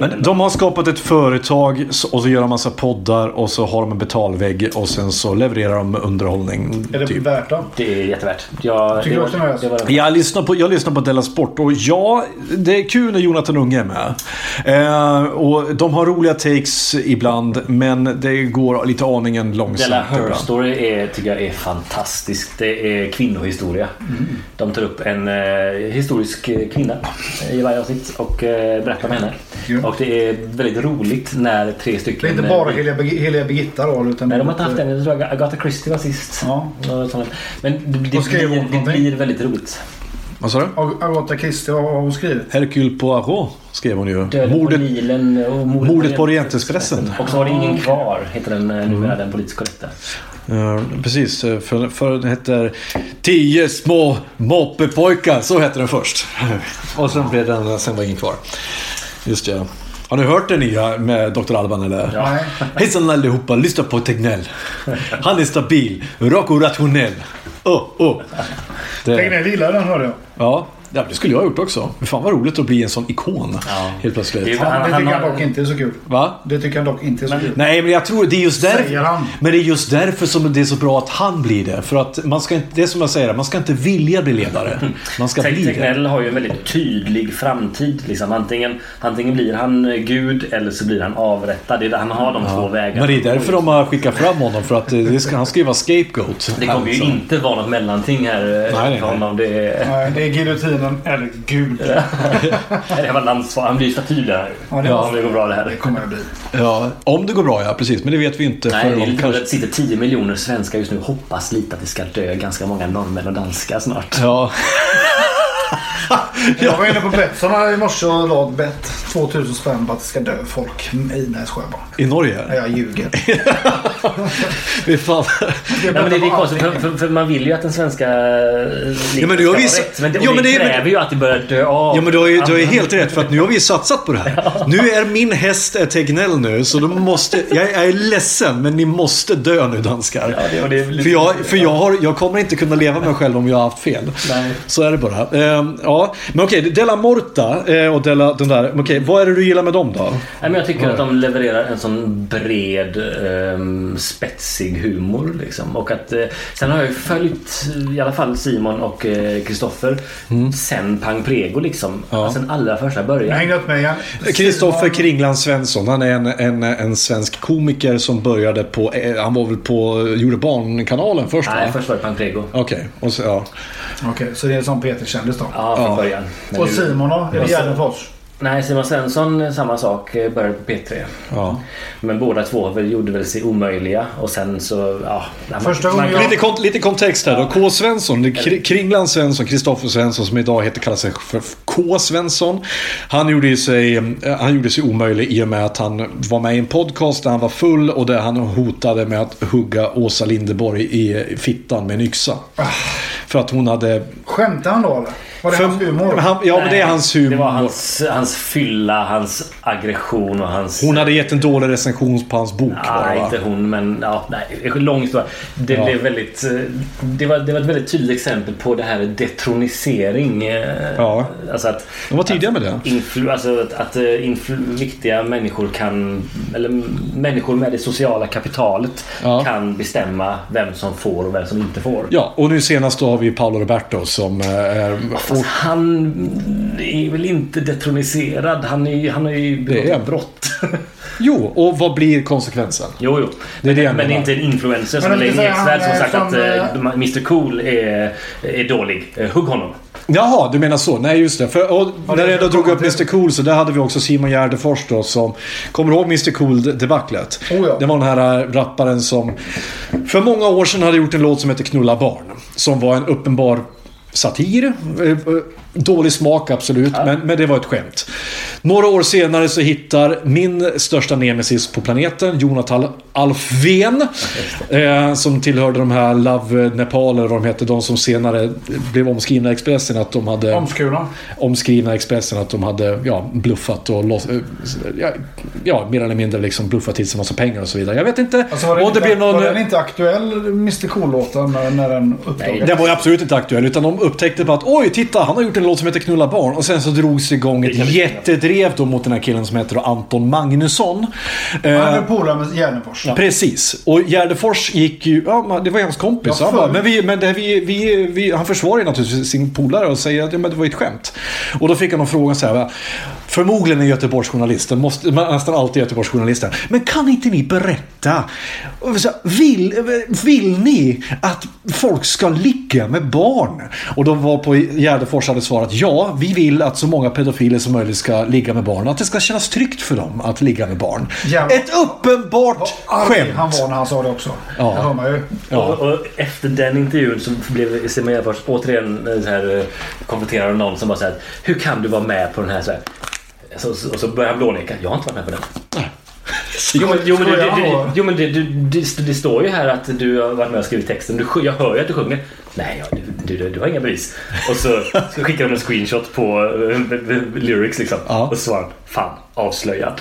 Speaker 3: Men de har skapat ett företag så- och så gör de massa poddar och så har de en betalvägg och sen så levererar de underhållning.
Speaker 1: Mm. Är det
Speaker 3: typ.
Speaker 1: värt det?
Speaker 2: Det är jättevärt. Jag,
Speaker 1: Tycker
Speaker 2: det
Speaker 1: du
Speaker 2: var-
Speaker 1: också det?
Speaker 2: det var den.
Speaker 3: Jag lyssnar, på, jag lyssnar på Della Sport och ja, det är kul när Jonathan Unge är med. Eh, och de har roliga takes ibland men det går lite aningen långsamt.
Speaker 2: Della Her
Speaker 3: ibland.
Speaker 2: Story är, tycker jag är fantastisk. Det är kvinnohistoria.
Speaker 1: Mm.
Speaker 2: De tar upp en eh, historisk eh, kvinna i varje avsnitt och eh, berättar om henne.
Speaker 1: Ja.
Speaker 2: Och det är väldigt roligt när tre stycken...
Speaker 1: Det är inte bara Heliga, Birg- Heliga Birgitta då? Utan
Speaker 2: Nej, de har inte haft den. Jag tror Agatha Christie var sist.
Speaker 1: Ja.
Speaker 2: Något sånt. Men det, det,
Speaker 1: Vad ska jag
Speaker 2: blir,
Speaker 1: göra för
Speaker 2: det
Speaker 1: någonting?
Speaker 2: blir väldigt roligt.
Speaker 3: Vad sa du?
Speaker 1: Ag- Agatha Christie har har hon skrivit.
Speaker 2: Eh.
Speaker 3: Hercule Poirot skrev hon ju.
Speaker 2: Döden på
Speaker 3: Mordet,
Speaker 2: Nilen och
Speaker 3: mordet på Orientexpressen.
Speaker 2: Och så var det ingen kvar, heter den eh,
Speaker 1: Mm.
Speaker 2: numera, den politiskt korrekta.
Speaker 3: Ja, precis, eh, för, för den heter Tio små moppepojkar. Så hette den först. Och sen blev den, sen var ingen kvar. Just det. Har ni hört den nya med Dr. Alban eller?
Speaker 1: Nej.
Speaker 3: Hejsan allihopa, lyssna på Tegnell. Han är stabil, rak och rationell. Oh, oh. Det,
Speaker 1: Tegnell gillar den hörde jag.
Speaker 3: ja, ja, det skulle jag ha gjort också. Fan vad roligt att bli en sån ikon helt
Speaker 2: Det är-
Speaker 3: plötsligt.
Speaker 2: Han-
Speaker 1: Det
Speaker 2: han
Speaker 1: tycker
Speaker 2: har-
Speaker 1: han dock inte är så kul.
Speaker 3: Va?
Speaker 1: Det tycker han dock inte är så kul.
Speaker 3: Nej, men jag tror det är just
Speaker 1: Säger
Speaker 3: därför.
Speaker 1: han.
Speaker 3: Men det är just därför som det är så bra att han blir det. För att man ska inte, det är som jag säger, man ska inte vilja bli ledare. Man ska bli det.
Speaker 2: Tegnell har ju en väldigt tydlig framtid. Liksom. Antingen, antingen blir han eh, gud eller så blir han avrättad. Det är, där han har de två vägarna.
Speaker 3: Men det är därför de har skickat fram honom. För att eh, det ska, han ska ju vara scapegoat. Alltså.
Speaker 2: Det kommer ju inte vara något mellanting här eh,
Speaker 3: nej, nej.
Speaker 2: för honom. Det är...
Speaker 1: Nej, det är giljotin tiden. Eller gud.
Speaker 2: Nej, det var landsfar. Han blir staty där.
Speaker 1: Ja, det
Speaker 2: Ja,
Speaker 1: var-
Speaker 2: om det går bra det här.
Speaker 1: Det kommer jag bli.
Speaker 3: Ja, om det går bra, ja. Precis. Men det vet vi inte
Speaker 2: Nej,
Speaker 3: förrän
Speaker 2: det är
Speaker 3: de
Speaker 2: lite roligt att
Speaker 3: kanske...
Speaker 2: det sitter 10 miljoner svenskar just nu och hoppas lite att det ska dö ganska många norrmän och danskar snart.
Speaker 3: Ja.
Speaker 1: Jag var inne på Betsson i morse och la ett bett. 2000 spänn på att det ska dö folk i Nässjöbad.
Speaker 3: I Norge?
Speaker 1: Nej, Jag ljuger.
Speaker 3: Fy fan.
Speaker 2: Ja, men det är ju konstigt, för, för, för man vill ju att den svenska... eh, Ja,
Speaker 3: men det har vi s-
Speaker 2: rätt, men det, och
Speaker 3: Ja,
Speaker 2: det
Speaker 3: men det är-
Speaker 2: kräver ju att det börjar dö av.
Speaker 3: Ja men du har, ju, du har ju helt rätt för att nu har vi ju satsat på det här. Nu är min häst ett Tegnell nu så de måste... Jag är ledsen men ni måste dö nu danskar.
Speaker 2: Ja, det- och det är lite-
Speaker 3: för jag, för jag, har, jag kommer inte kunna leva med mig själv om jag har haft fel.
Speaker 2: Nej.
Speaker 3: Så är det bara. Ehm, ja. Men okej, Della Morta eh, och Della, den där. Okej, vad är det du gillar med dem då?
Speaker 2: Nej, men jag tycker att de levererar en sån bred, ehm, spetsig humor. Liksom. Och att, eh, sen har jag ju följt eh, i alla fall Simon och eh, Kristoffer
Speaker 3: Mm.
Speaker 2: sen Pang Prego. Liksom. Sen allra första
Speaker 1: Jag
Speaker 2: början.
Speaker 1: hängde upp mig igen.
Speaker 3: Kristoffer Kringland Svensson, han är en, en, en svensk komiker som började på, eh, han var väl på gjorde barnkanalen först va?
Speaker 2: Nej, först var det Pang Prego.
Speaker 3: Okej, och så, ja.
Speaker 1: Okej, så det är en sån Peter-kändis då.
Speaker 2: Ja, från
Speaker 3: Ja.
Speaker 2: början. Men
Speaker 1: Och
Speaker 2: nu-
Speaker 1: Simon då? Är det Gärdenfors?
Speaker 2: Nej, Simon Svensson, eh, samma sak. eh, Började på P3.
Speaker 3: ja.
Speaker 2: Men båda två väl, gjorde väl sig omöjliga och sen så... Ja, man-
Speaker 1: Första
Speaker 2: man,
Speaker 1: gången jag-
Speaker 3: Lite, kont- lite kontext här då. K. Svensson, det är Kri- Kringland Svensson, Kristoffer Svensson som idag heter, kallar sig för K. Svensson. Han gjorde, ju sig, eh, han gjorde sig omöjlig i och med att han var med i en podcast där han var full och där han hotade med att hugga Åsa Linderborg i fittan med en yxa.
Speaker 2: Ah.
Speaker 3: För att hon hade...
Speaker 1: Skämtar han då eller? Var det hans humor?
Speaker 3: Han, ja, men det är hans humor.
Speaker 2: Det var hans, hans fylla, hans aggression och hans...
Speaker 3: Hon hade gett en dålig recension på hans bok.
Speaker 2: Ja,
Speaker 3: bara, va?
Speaker 2: inte hon, men ja, nej, lång historia. Det,
Speaker 3: Ja.
Speaker 2: blev väldigt, eh, det, var, det var ett väldigt tydligt exempel på det här detronisering. eh,
Speaker 3: Ja.
Speaker 2: Alltså att,
Speaker 3: De var tidiga med det.
Speaker 2: att influ, alltså att, att eh, influ, viktiga människor kan, eller människor med det sociala kapitalet
Speaker 3: Ja.
Speaker 2: kan bestämma vem som får och vem som inte får.
Speaker 3: Ja, och nu senast då har vi Paolo Roberto som... eh, är-
Speaker 2: Fast han är väl inte detroniserad? Han, är, han har ju
Speaker 3: Det är
Speaker 2: begått
Speaker 3: en-
Speaker 2: brott.
Speaker 3: jo, och vad blir konsekvensen?
Speaker 2: Jo, jo.
Speaker 3: Det är det
Speaker 2: men
Speaker 3: jag
Speaker 2: det är
Speaker 3: menar.
Speaker 2: inte en influencer som
Speaker 1: Men det
Speaker 2: lägger
Speaker 1: säger
Speaker 2: ner ett svärd som
Speaker 1: han,
Speaker 2: sagt
Speaker 1: eh,
Speaker 2: att
Speaker 1: som,
Speaker 2: eh, Mr Cool är, är dålig. Eh, Hugg honom.
Speaker 3: Jaha, du menar så. Nej, just det. För, och, när
Speaker 1: det
Speaker 3: jag
Speaker 1: är
Speaker 3: ändå
Speaker 1: så
Speaker 3: drog upp
Speaker 1: konstigt.
Speaker 3: Mr Cool så där hade vi också Simon Gärdefors då som... Kommer du ihåg Mr Cool-debaclet?
Speaker 1: Oh ja.
Speaker 3: Det var den här äh, rapparen som för många år sedan hade gjort en låt som hette Knulla barn. Som var en uppenbar satir. Eh, eh, Dålig smak absolut, men, men det var ett skämt. Några år senare så hittar min största nemesis på planeten, Jonathan Alfven. Eh, som tillhörde de här Love Nepal eller vad de hette. De som senare blev omskrivna i Expressen att de hade
Speaker 1: Omskurna.
Speaker 3: omskrivna i Expressen att de hade ja, bluffat och lås- eh, ja, ja, mer eller mindre liksom bluffat till sig massa pengar och så vidare. Jag vet inte.
Speaker 1: Alltså var den,
Speaker 3: och det
Speaker 1: inte,
Speaker 3: blev någon...
Speaker 1: var den inte aktuell, Mr Cool-låten, när, när den uppdagades?
Speaker 3: Den eh, var ju absolut inte aktuell utan de upptäckte bara att oj, titta han har gjort en låt som heter Knulla barn och sen så drogs det igång
Speaker 2: Det kan
Speaker 3: ett
Speaker 2: vi-
Speaker 3: jättedrev då mot den här killen som heter då Anton Magnusson. Eh,
Speaker 1: Han blev polare med Gärdenfors.
Speaker 3: Precis. Och Gärdefors gick ju... Ja, man- det var ju hans kompis.
Speaker 1: Ja,
Speaker 3: han, bara,
Speaker 1: för-
Speaker 3: men vi, men det, här- vi, vi, vi, han försvarar ju naturligtvis sin polare och säger att ja, men det var ju ett skämt. Och då fick han en fråga så här. va, Förmodligen är Göteborgsjournalisten, måste, men nästan alltid Göteborgsjournalisten. Men kan inte ni berätta? Och så här, Vill, vill ni att folk ska ligga med barn? Och de var på Gärdefors hade svarat ja, vi vill att så många pedofiler som möjligt ska ligga med barn. Att det ska kännas tryggt för dem att ligga med barn.
Speaker 1: Jävlar.
Speaker 3: Ett uppenbart
Speaker 1: Vad arg
Speaker 3: Skämt.
Speaker 1: han var när han sa det också.
Speaker 3: Ja.
Speaker 1: Det hör man ju.
Speaker 3: Ja.
Speaker 2: Och, och efter den intervjun så blev Simon Gärdenfors återigen eh, så här, eh, konfronterad av någon som bara såhär Hur kan du vara med på den här? Så här så, så, och så började han blåneka. Jag har inte varit med på den. Jo men, jo, men, det, det, det, jo, men det, du- det, det står ju här att du har varit med och skrivit texten. Du, sj- jag hör ju att du sjunger. Nej, ja, du, du, du har inga bevis. Och så, så skickade de en screenshot på eh, b- b- lyrics liksom.
Speaker 3: Ja.
Speaker 2: Och så svarade han, fan avslöjad.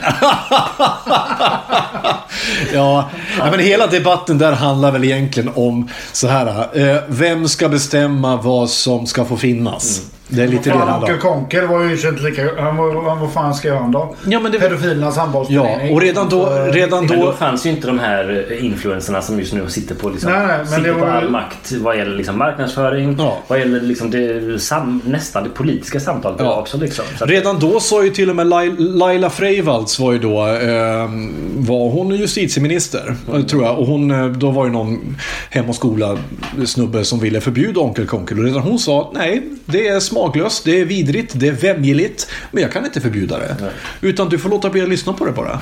Speaker 3: ja. ja, men hela debatten där handlar väl egentligen om så här. Eh, vem ska bestämma vad som ska få finnas? Det är lite det det
Speaker 1: Fan,
Speaker 3: handlar
Speaker 1: Åke
Speaker 3: om.
Speaker 1: Konker var ju inte lika... Han var, han, vad fan skrev han då?
Speaker 3: Ja, men det-
Speaker 1: Pedofilernas
Speaker 3: Ja,
Speaker 1: handbollsförening.
Speaker 3: och redan då...
Speaker 1: Eh,
Speaker 3: Redan
Speaker 2: Men då
Speaker 3: då
Speaker 2: fanns ju inte de här influenserna som just nu sitter på, liksom,
Speaker 1: Nej, nej, men
Speaker 2: sitter
Speaker 1: det
Speaker 2: på
Speaker 1: var
Speaker 2: all
Speaker 1: ju-
Speaker 2: makt vad gäller liksom, marknadsföring,
Speaker 3: Ja.
Speaker 2: vad gäller liksom, det, sam, nästan det politiska samtalet
Speaker 3: Ja.
Speaker 2: också. Liksom. Så att-
Speaker 3: Redan då sa ju till och med Lai- Laila Freivalds var ju då, eh, var hon justitieminister, eh, tror jag. Och hon, eh, då var ju någon hem och skola snubbe som ville förbjuda Onkel Konkel. Och redan hon sa att nej, det är smaklöst, det är vidrigt, det är vämjeligt. Men jag kan inte förbjuda det. Utan du får låta bli att lyssna på det bara.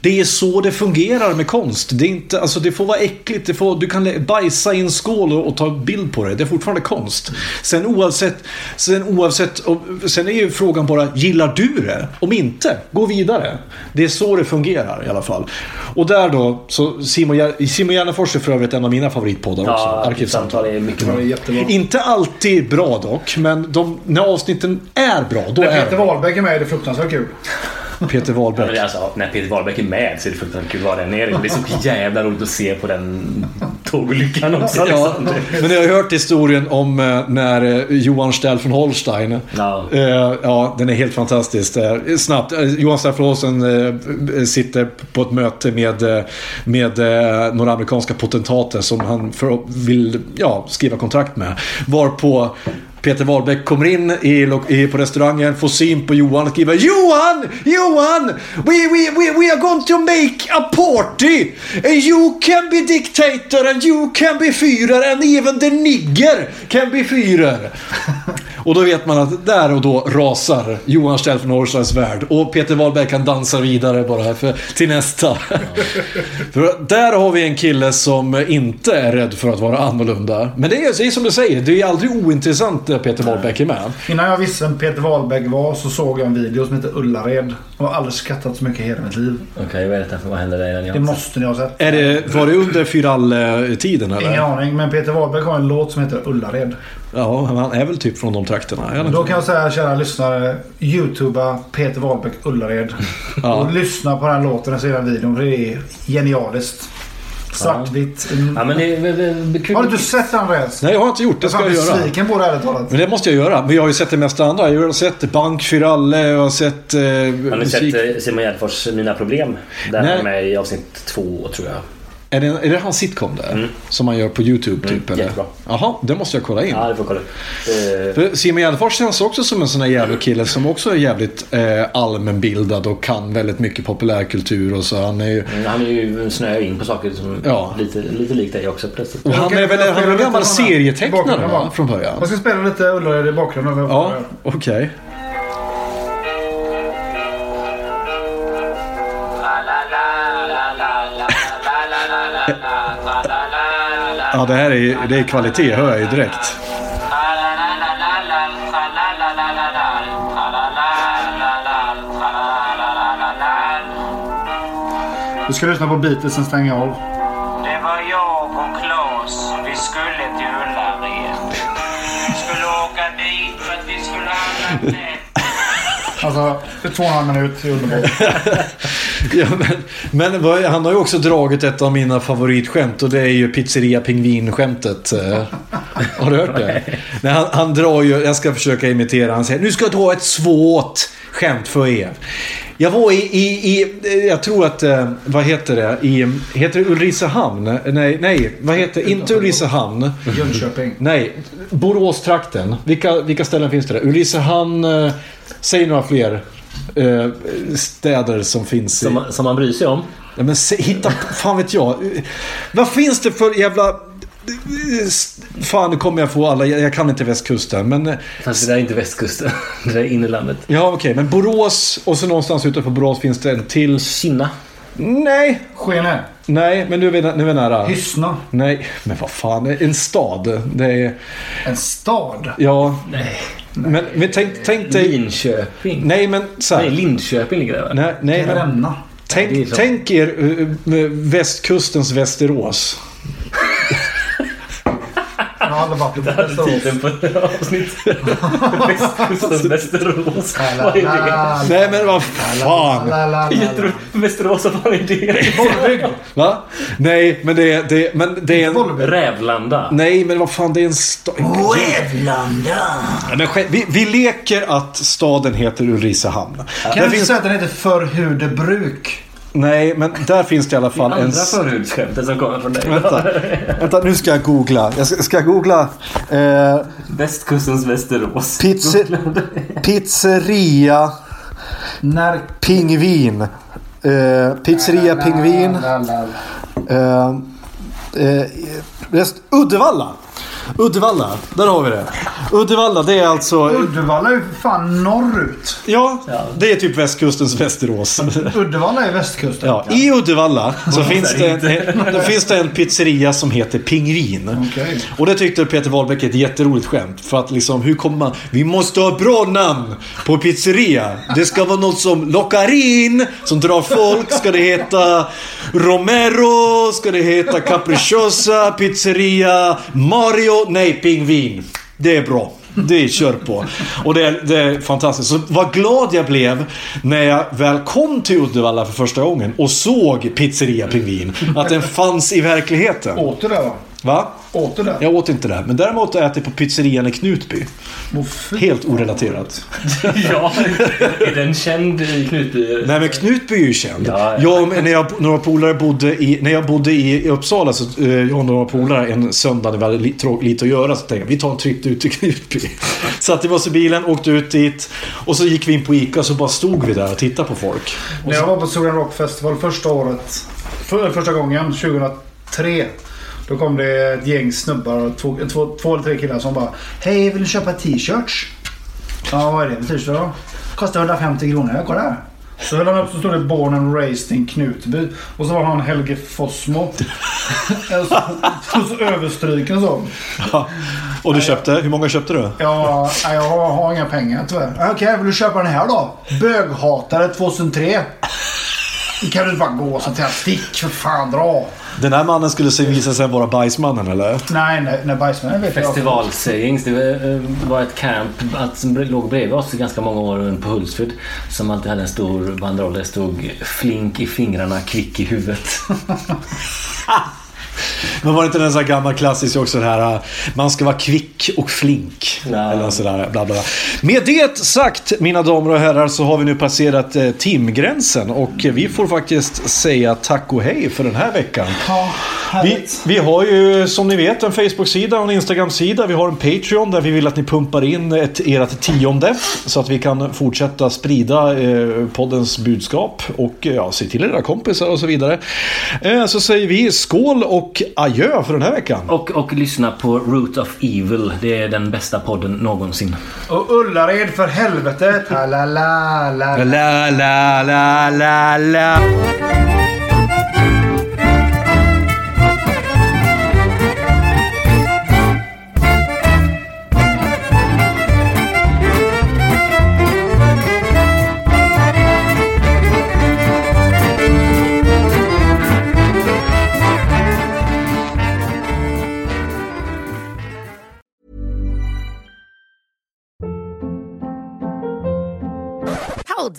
Speaker 3: Det är så det fungerar med konst. Det, är inte, alltså det får vara äckligt, det får, du kan lä- bajsa i en skål och, och ta bild på det. Det är fortfarande konst. Sen oavsett, sen oavsett, och sen är ju frågan bara, gillar du det? Om inte, gå vidare. Det är så det fungerar i alla fall. Och där då, så Simon, Gär- Simon Gärdenfors är för övrigt en av mina favoritpoddar också.
Speaker 2: Ja, arkivsamtal
Speaker 3: Arkivsamtal.
Speaker 2: är mycket
Speaker 1: Det
Speaker 2: bra.
Speaker 1: är jättebra.
Speaker 3: Inte alltid bra dock, men de, när avsnitten är bra, då
Speaker 1: När
Speaker 3: är
Speaker 1: Peter
Speaker 3: det
Speaker 1: Wahlbeck är med är det fruktansvärt kul.
Speaker 3: Peter
Speaker 2: Ja, men
Speaker 3: Wahlberg.
Speaker 2: det är alltså, när Peter Wahlbeck är med så är det fruktansvärt kul vad den är. Det är så jävla roligt att se på den tågolyckan också.
Speaker 3: Ja,
Speaker 2: Liksom.
Speaker 3: men jag har hört historien om eh, när eh, Johan Stell från Holstein.
Speaker 2: Ja.
Speaker 3: Eh, ja, den är helt fantastisk. Där. Snabbt. eh, Johan Stell från Holstein eh, sitter på ett möte med, eh, med eh, några amerikanska potentater som han för, vill ja, skriva kontrakt med. Varpå Peter Wahlbeck kommer in i, lo- i, på restaurangen, får syn på Johan och skriver Johan! Johan! We, we, we, we are going to make a party! And you can be dictator and you can be Führer and even the nigger can be Führer. och då vet man att där och då rasar Johan Stell från Horstlands värld och Peter Wahlberg kan dansa vidare bara för, till nästa. För där har vi en kille som inte är rädd för att vara annorlunda. Men det är, det är som du säger, det är aldrig ointressant när Peter Wahlbeck är med.
Speaker 1: Innan jag visste vem Peter Wahlbeck var så såg jag en video som heter Ullared. Jag har aldrig skrattat så mycket i hela mitt liv.
Speaker 2: Okej, vad är detta? för- Vad händer där? Jag har
Speaker 1: Det
Speaker 2: inte
Speaker 1: måste ni ha sett.
Speaker 3: Är det, var det under Fyral-tiden eller?
Speaker 1: Ingen aning, men Peter Wahlbeck har en låt som heter Ullared.
Speaker 3: Ja, men han är väl typ från de trakterna. Är han
Speaker 1: Då
Speaker 3: inte?
Speaker 1: kan jag säga kära lyssnare, youtuba Peter Wahlbeck Ullared.
Speaker 3: Ja.
Speaker 1: Och lyssna på den här låten och se den här videon för det är genialiskt. Svartvitt. Mm.
Speaker 2: Ja, men det är väl- väl- väl kul.
Speaker 1: Har du inte sett den Rez?
Speaker 3: Nej, jag har inte gjort det. ska jag göra.
Speaker 1: besviken på det ärligt talat.
Speaker 3: Men det måste jag göra. Men jag har ju sett det mesta andra. Jag har sett Bank Fyralle, jag har sett eh,
Speaker 2: Har ni
Speaker 3: musik.
Speaker 2: sett eh, Simon Gärdenfors Mina Problem? Där
Speaker 3: Nej.
Speaker 2: han är med i avsnitt två tror
Speaker 1: Mm.
Speaker 2: jag.
Speaker 3: Är, det, är det hans sitcom där? Som man gör på YouTube typ? eller?
Speaker 2: jättebra.
Speaker 3: Jaha, det måste jag kolla in.
Speaker 2: Ja, det får jag kolla upp. Eh,
Speaker 3: För Simon Gärdenfors känns också som en sån här jävla kille som också är jävligt eh, allmänbildad och kan väldigt mycket populärkultur och så. Han är ju...
Speaker 2: Han är ju snöar in på saker som
Speaker 3: Ja.
Speaker 2: lite, lite likt dig också plötsligt.
Speaker 3: Och han är väl han är väl gammal serietecknare va? från början?
Speaker 1: Jag ska spela lite Ullared i bakgrunden. om jag får
Speaker 3: Ja,
Speaker 1: det.
Speaker 3: okej. Ja, det här är, det är kvalitet hör jag ju direkt.
Speaker 1: Du ska lyssna på beatet sen stänger jag av.
Speaker 5: Det var jag och Claes. Vi skulle till Ullared. Vi skulle åka dit för att vi skulle handla kläder.
Speaker 1: Alltså, det är två och en halv minut. Det är underbart.
Speaker 3: Ja, men men vad, han har ju också dragit ett av mina favoritskämt och det är ju pizzeria pingvin-skämtet. eh. Har du hört det? Nej, han, han drar ju, jag ska försöka imitera, han säger nu ska jag dra ett svårt skämt för er. Jag var i, i, i eh, jag tror att, eh, vad heter det, i, heter det Ulricehamn? Nej, nej, vad heter inte Ulricehamn.
Speaker 1: Jönköping.
Speaker 3: Nej, Boråstrakten. Vilka, vilka ställen finns det där? Ulricehamn, eh, säg några fler eh, städer som finns i...
Speaker 2: Som, som man bryr sig om.
Speaker 3: Ja, men se, hitta Fan vet jag. Vad finns det för jävla... Fan, nu kommer jag få alla. Jag, jag kan inte västkusten, men...
Speaker 2: Fast det där är inte västkusten. Det där är innerlandet.
Speaker 3: Ja, okej. men Borås och så någonstans utanför Borås finns det en till...
Speaker 2: Kinna.
Speaker 3: Nej!
Speaker 1: Skene.
Speaker 3: Nej, men nu är vi, nä- nu är vi nära.
Speaker 1: Hyssna.
Speaker 3: Nej, men vad fan. En stad. Det är...
Speaker 1: En stad.
Speaker 3: Ja. Nej. Men, men tänk, tänk dig...
Speaker 2: Linköping.
Speaker 3: Nej, men så
Speaker 2: Nej,
Speaker 3: här.
Speaker 2: Linköping ligger det va?
Speaker 3: Nej, nej, men,
Speaker 1: Bränna.
Speaker 3: tänk,
Speaker 2: så.
Speaker 3: tänk er eh, eh, västkustens Västerås.
Speaker 1: Jag har aldrig varit i Västerås.
Speaker 2: Titeln på avsnittet. Västkusten, Västerås. Vad är det?
Speaker 1: Ah,
Speaker 3: Nej, men vad fan.
Speaker 1: la, la, la, la.
Speaker 2: Jätteroligt. Västerås, vad fan är det?
Speaker 1: Bollebygd.
Speaker 3: Va? Nej, men det är... Det, men det är en,
Speaker 1: Bollebygd.
Speaker 2: Rävlanda.
Speaker 3: nej, men vad fan, det är en stad... Men själv- vi, vi leker att staden heter Ulricehamn.
Speaker 1: Kan
Speaker 3: Där
Speaker 1: du inte
Speaker 3: finns,
Speaker 1: säga att den heter Förhudebruk?
Speaker 3: nej, men där finns det i alla fall en...
Speaker 2: Andra
Speaker 3: s-
Speaker 2: förhudsskämtet som kommer från dig.
Speaker 3: Vänta, vänta, nu ska jag googla. Jag ska, ska jag googla eh,
Speaker 2: Västkustens Västerås.
Speaker 3: pizze, pizzeria
Speaker 1: När...
Speaker 3: pingvin. Eh, pizzeria pingvin.
Speaker 1: La, la, la.
Speaker 3: Eh, eh, rest, Uddevalla! Uddevalla, där har vi det. Uddevalla, det är alltså...
Speaker 1: Uddevalla är ju för fan norrut.
Speaker 3: Ja, det är typ västkustens Västerås.
Speaker 1: Uddevalla är västkusten.
Speaker 3: Ja, I Uddevalla så finns det,
Speaker 2: säger
Speaker 3: en, det finns det en pizzeria som heter Pingvin.
Speaker 1: Okej.
Speaker 3: Och det tyckte Peter Wahlbeck är ett jätteroligt skämt. För att liksom, hur kommer man... Vi måste ha bra namn på pizzeria. Det ska vara något som lockar in, som drar folk. Ska det heta Romero? Ska det heta Capricciosa Pizzeria? Mario? Nej, Pingvin. Det är bra. Det kör på. Och det, är- det är fantastiskt. Så vad glad jag blev när jag väl kom till Uddevalla för första gången och såg Pizzeria Pingvin. Att den fanns i verkligheten.
Speaker 1: Åter där va?
Speaker 3: Va?
Speaker 1: Åter där.
Speaker 3: Jag åt inte det, men däremot äter jag på pizzerian i Knutby.
Speaker 1: Åh, fy.
Speaker 3: Helt orelaterat.
Speaker 2: ja, är den känd i Knutby?
Speaker 3: Nej men Knutby är ju känd.
Speaker 2: Ja, ja.
Speaker 3: Jag, och- när jag, några polare bodde i, när jag bodde i, i Uppsala, så, eh, jag och några polare en söndag när vi hade li, trå, lite att göra, så tänkte jag vi tar en tripp ut till Knutby. Satte vi oss i bilen, åkte ut dit och så gick vi in på Ica och så bara stod vi där och tittade på folk.
Speaker 1: När jag var på Sweden Rock Festival första året, för, första gången, 2003. Då kom det ett gäng snubbar, två, två, två eller tre killar som bara Hej, vill du köpa t-shirts? Ja, vad är det för t-shirt då? Kostar 150 kronor, kolla här. Så höll han upp så stod det Born and Raised in Knutby. Och så var han Helge Fossmo. Och så- och så överstryken så.
Speaker 3: Och du köpte? Hur många köpte du?
Speaker 1: Ja, nej, jag har, har inga pengar tyvärr. Okej, vill du köpa den här då? Böghatare 2003. Kan du bara gå så till stick för fan dra.
Speaker 3: Den här mannen skulle se- visa sig vara bajsmannen eller?
Speaker 1: Nej, nej, nej bajsmännen vet jag.
Speaker 2: Festivalsayings. Det eh, var ett camp att, som låg bredvid oss i ganska många år på Hultsfred. Som alltid hade en stor banderoll. där Det stod flink i fingrarna, kvick i huvudet.
Speaker 3: Men var det inte den så här gamla klassiska också det här äh, man ska vara kvick och flink.
Speaker 2: Nej.
Speaker 3: Eller sådär bla bla, bla. Med det sagt mina damer och herrar så har vi nu passerat eh, timgränsen och eh, vi får faktiskt säga tack och hej för den här veckan.
Speaker 1: Ja,
Speaker 3: Vi,
Speaker 1: härligt.
Speaker 3: vi har ju som ni vet en Facebook-sida och en Instagram-sida. Vi har en Patreon där vi vill att ni pumpar in ett, ert tionde så att vi kan fortsätta sprida eh, poddens budskap och eh, ja, se till era kompisar och så vidare. Eh, så säger vi skål och adjö för den här veckan.
Speaker 2: Och, och lyssna på Root of Evil. Det är den bästa podden någonsin.
Speaker 1: Och Ullared för helvete. La, la, la, la, la.
Speaker 3: La, la, la, la, la.
Speaker 6: Hold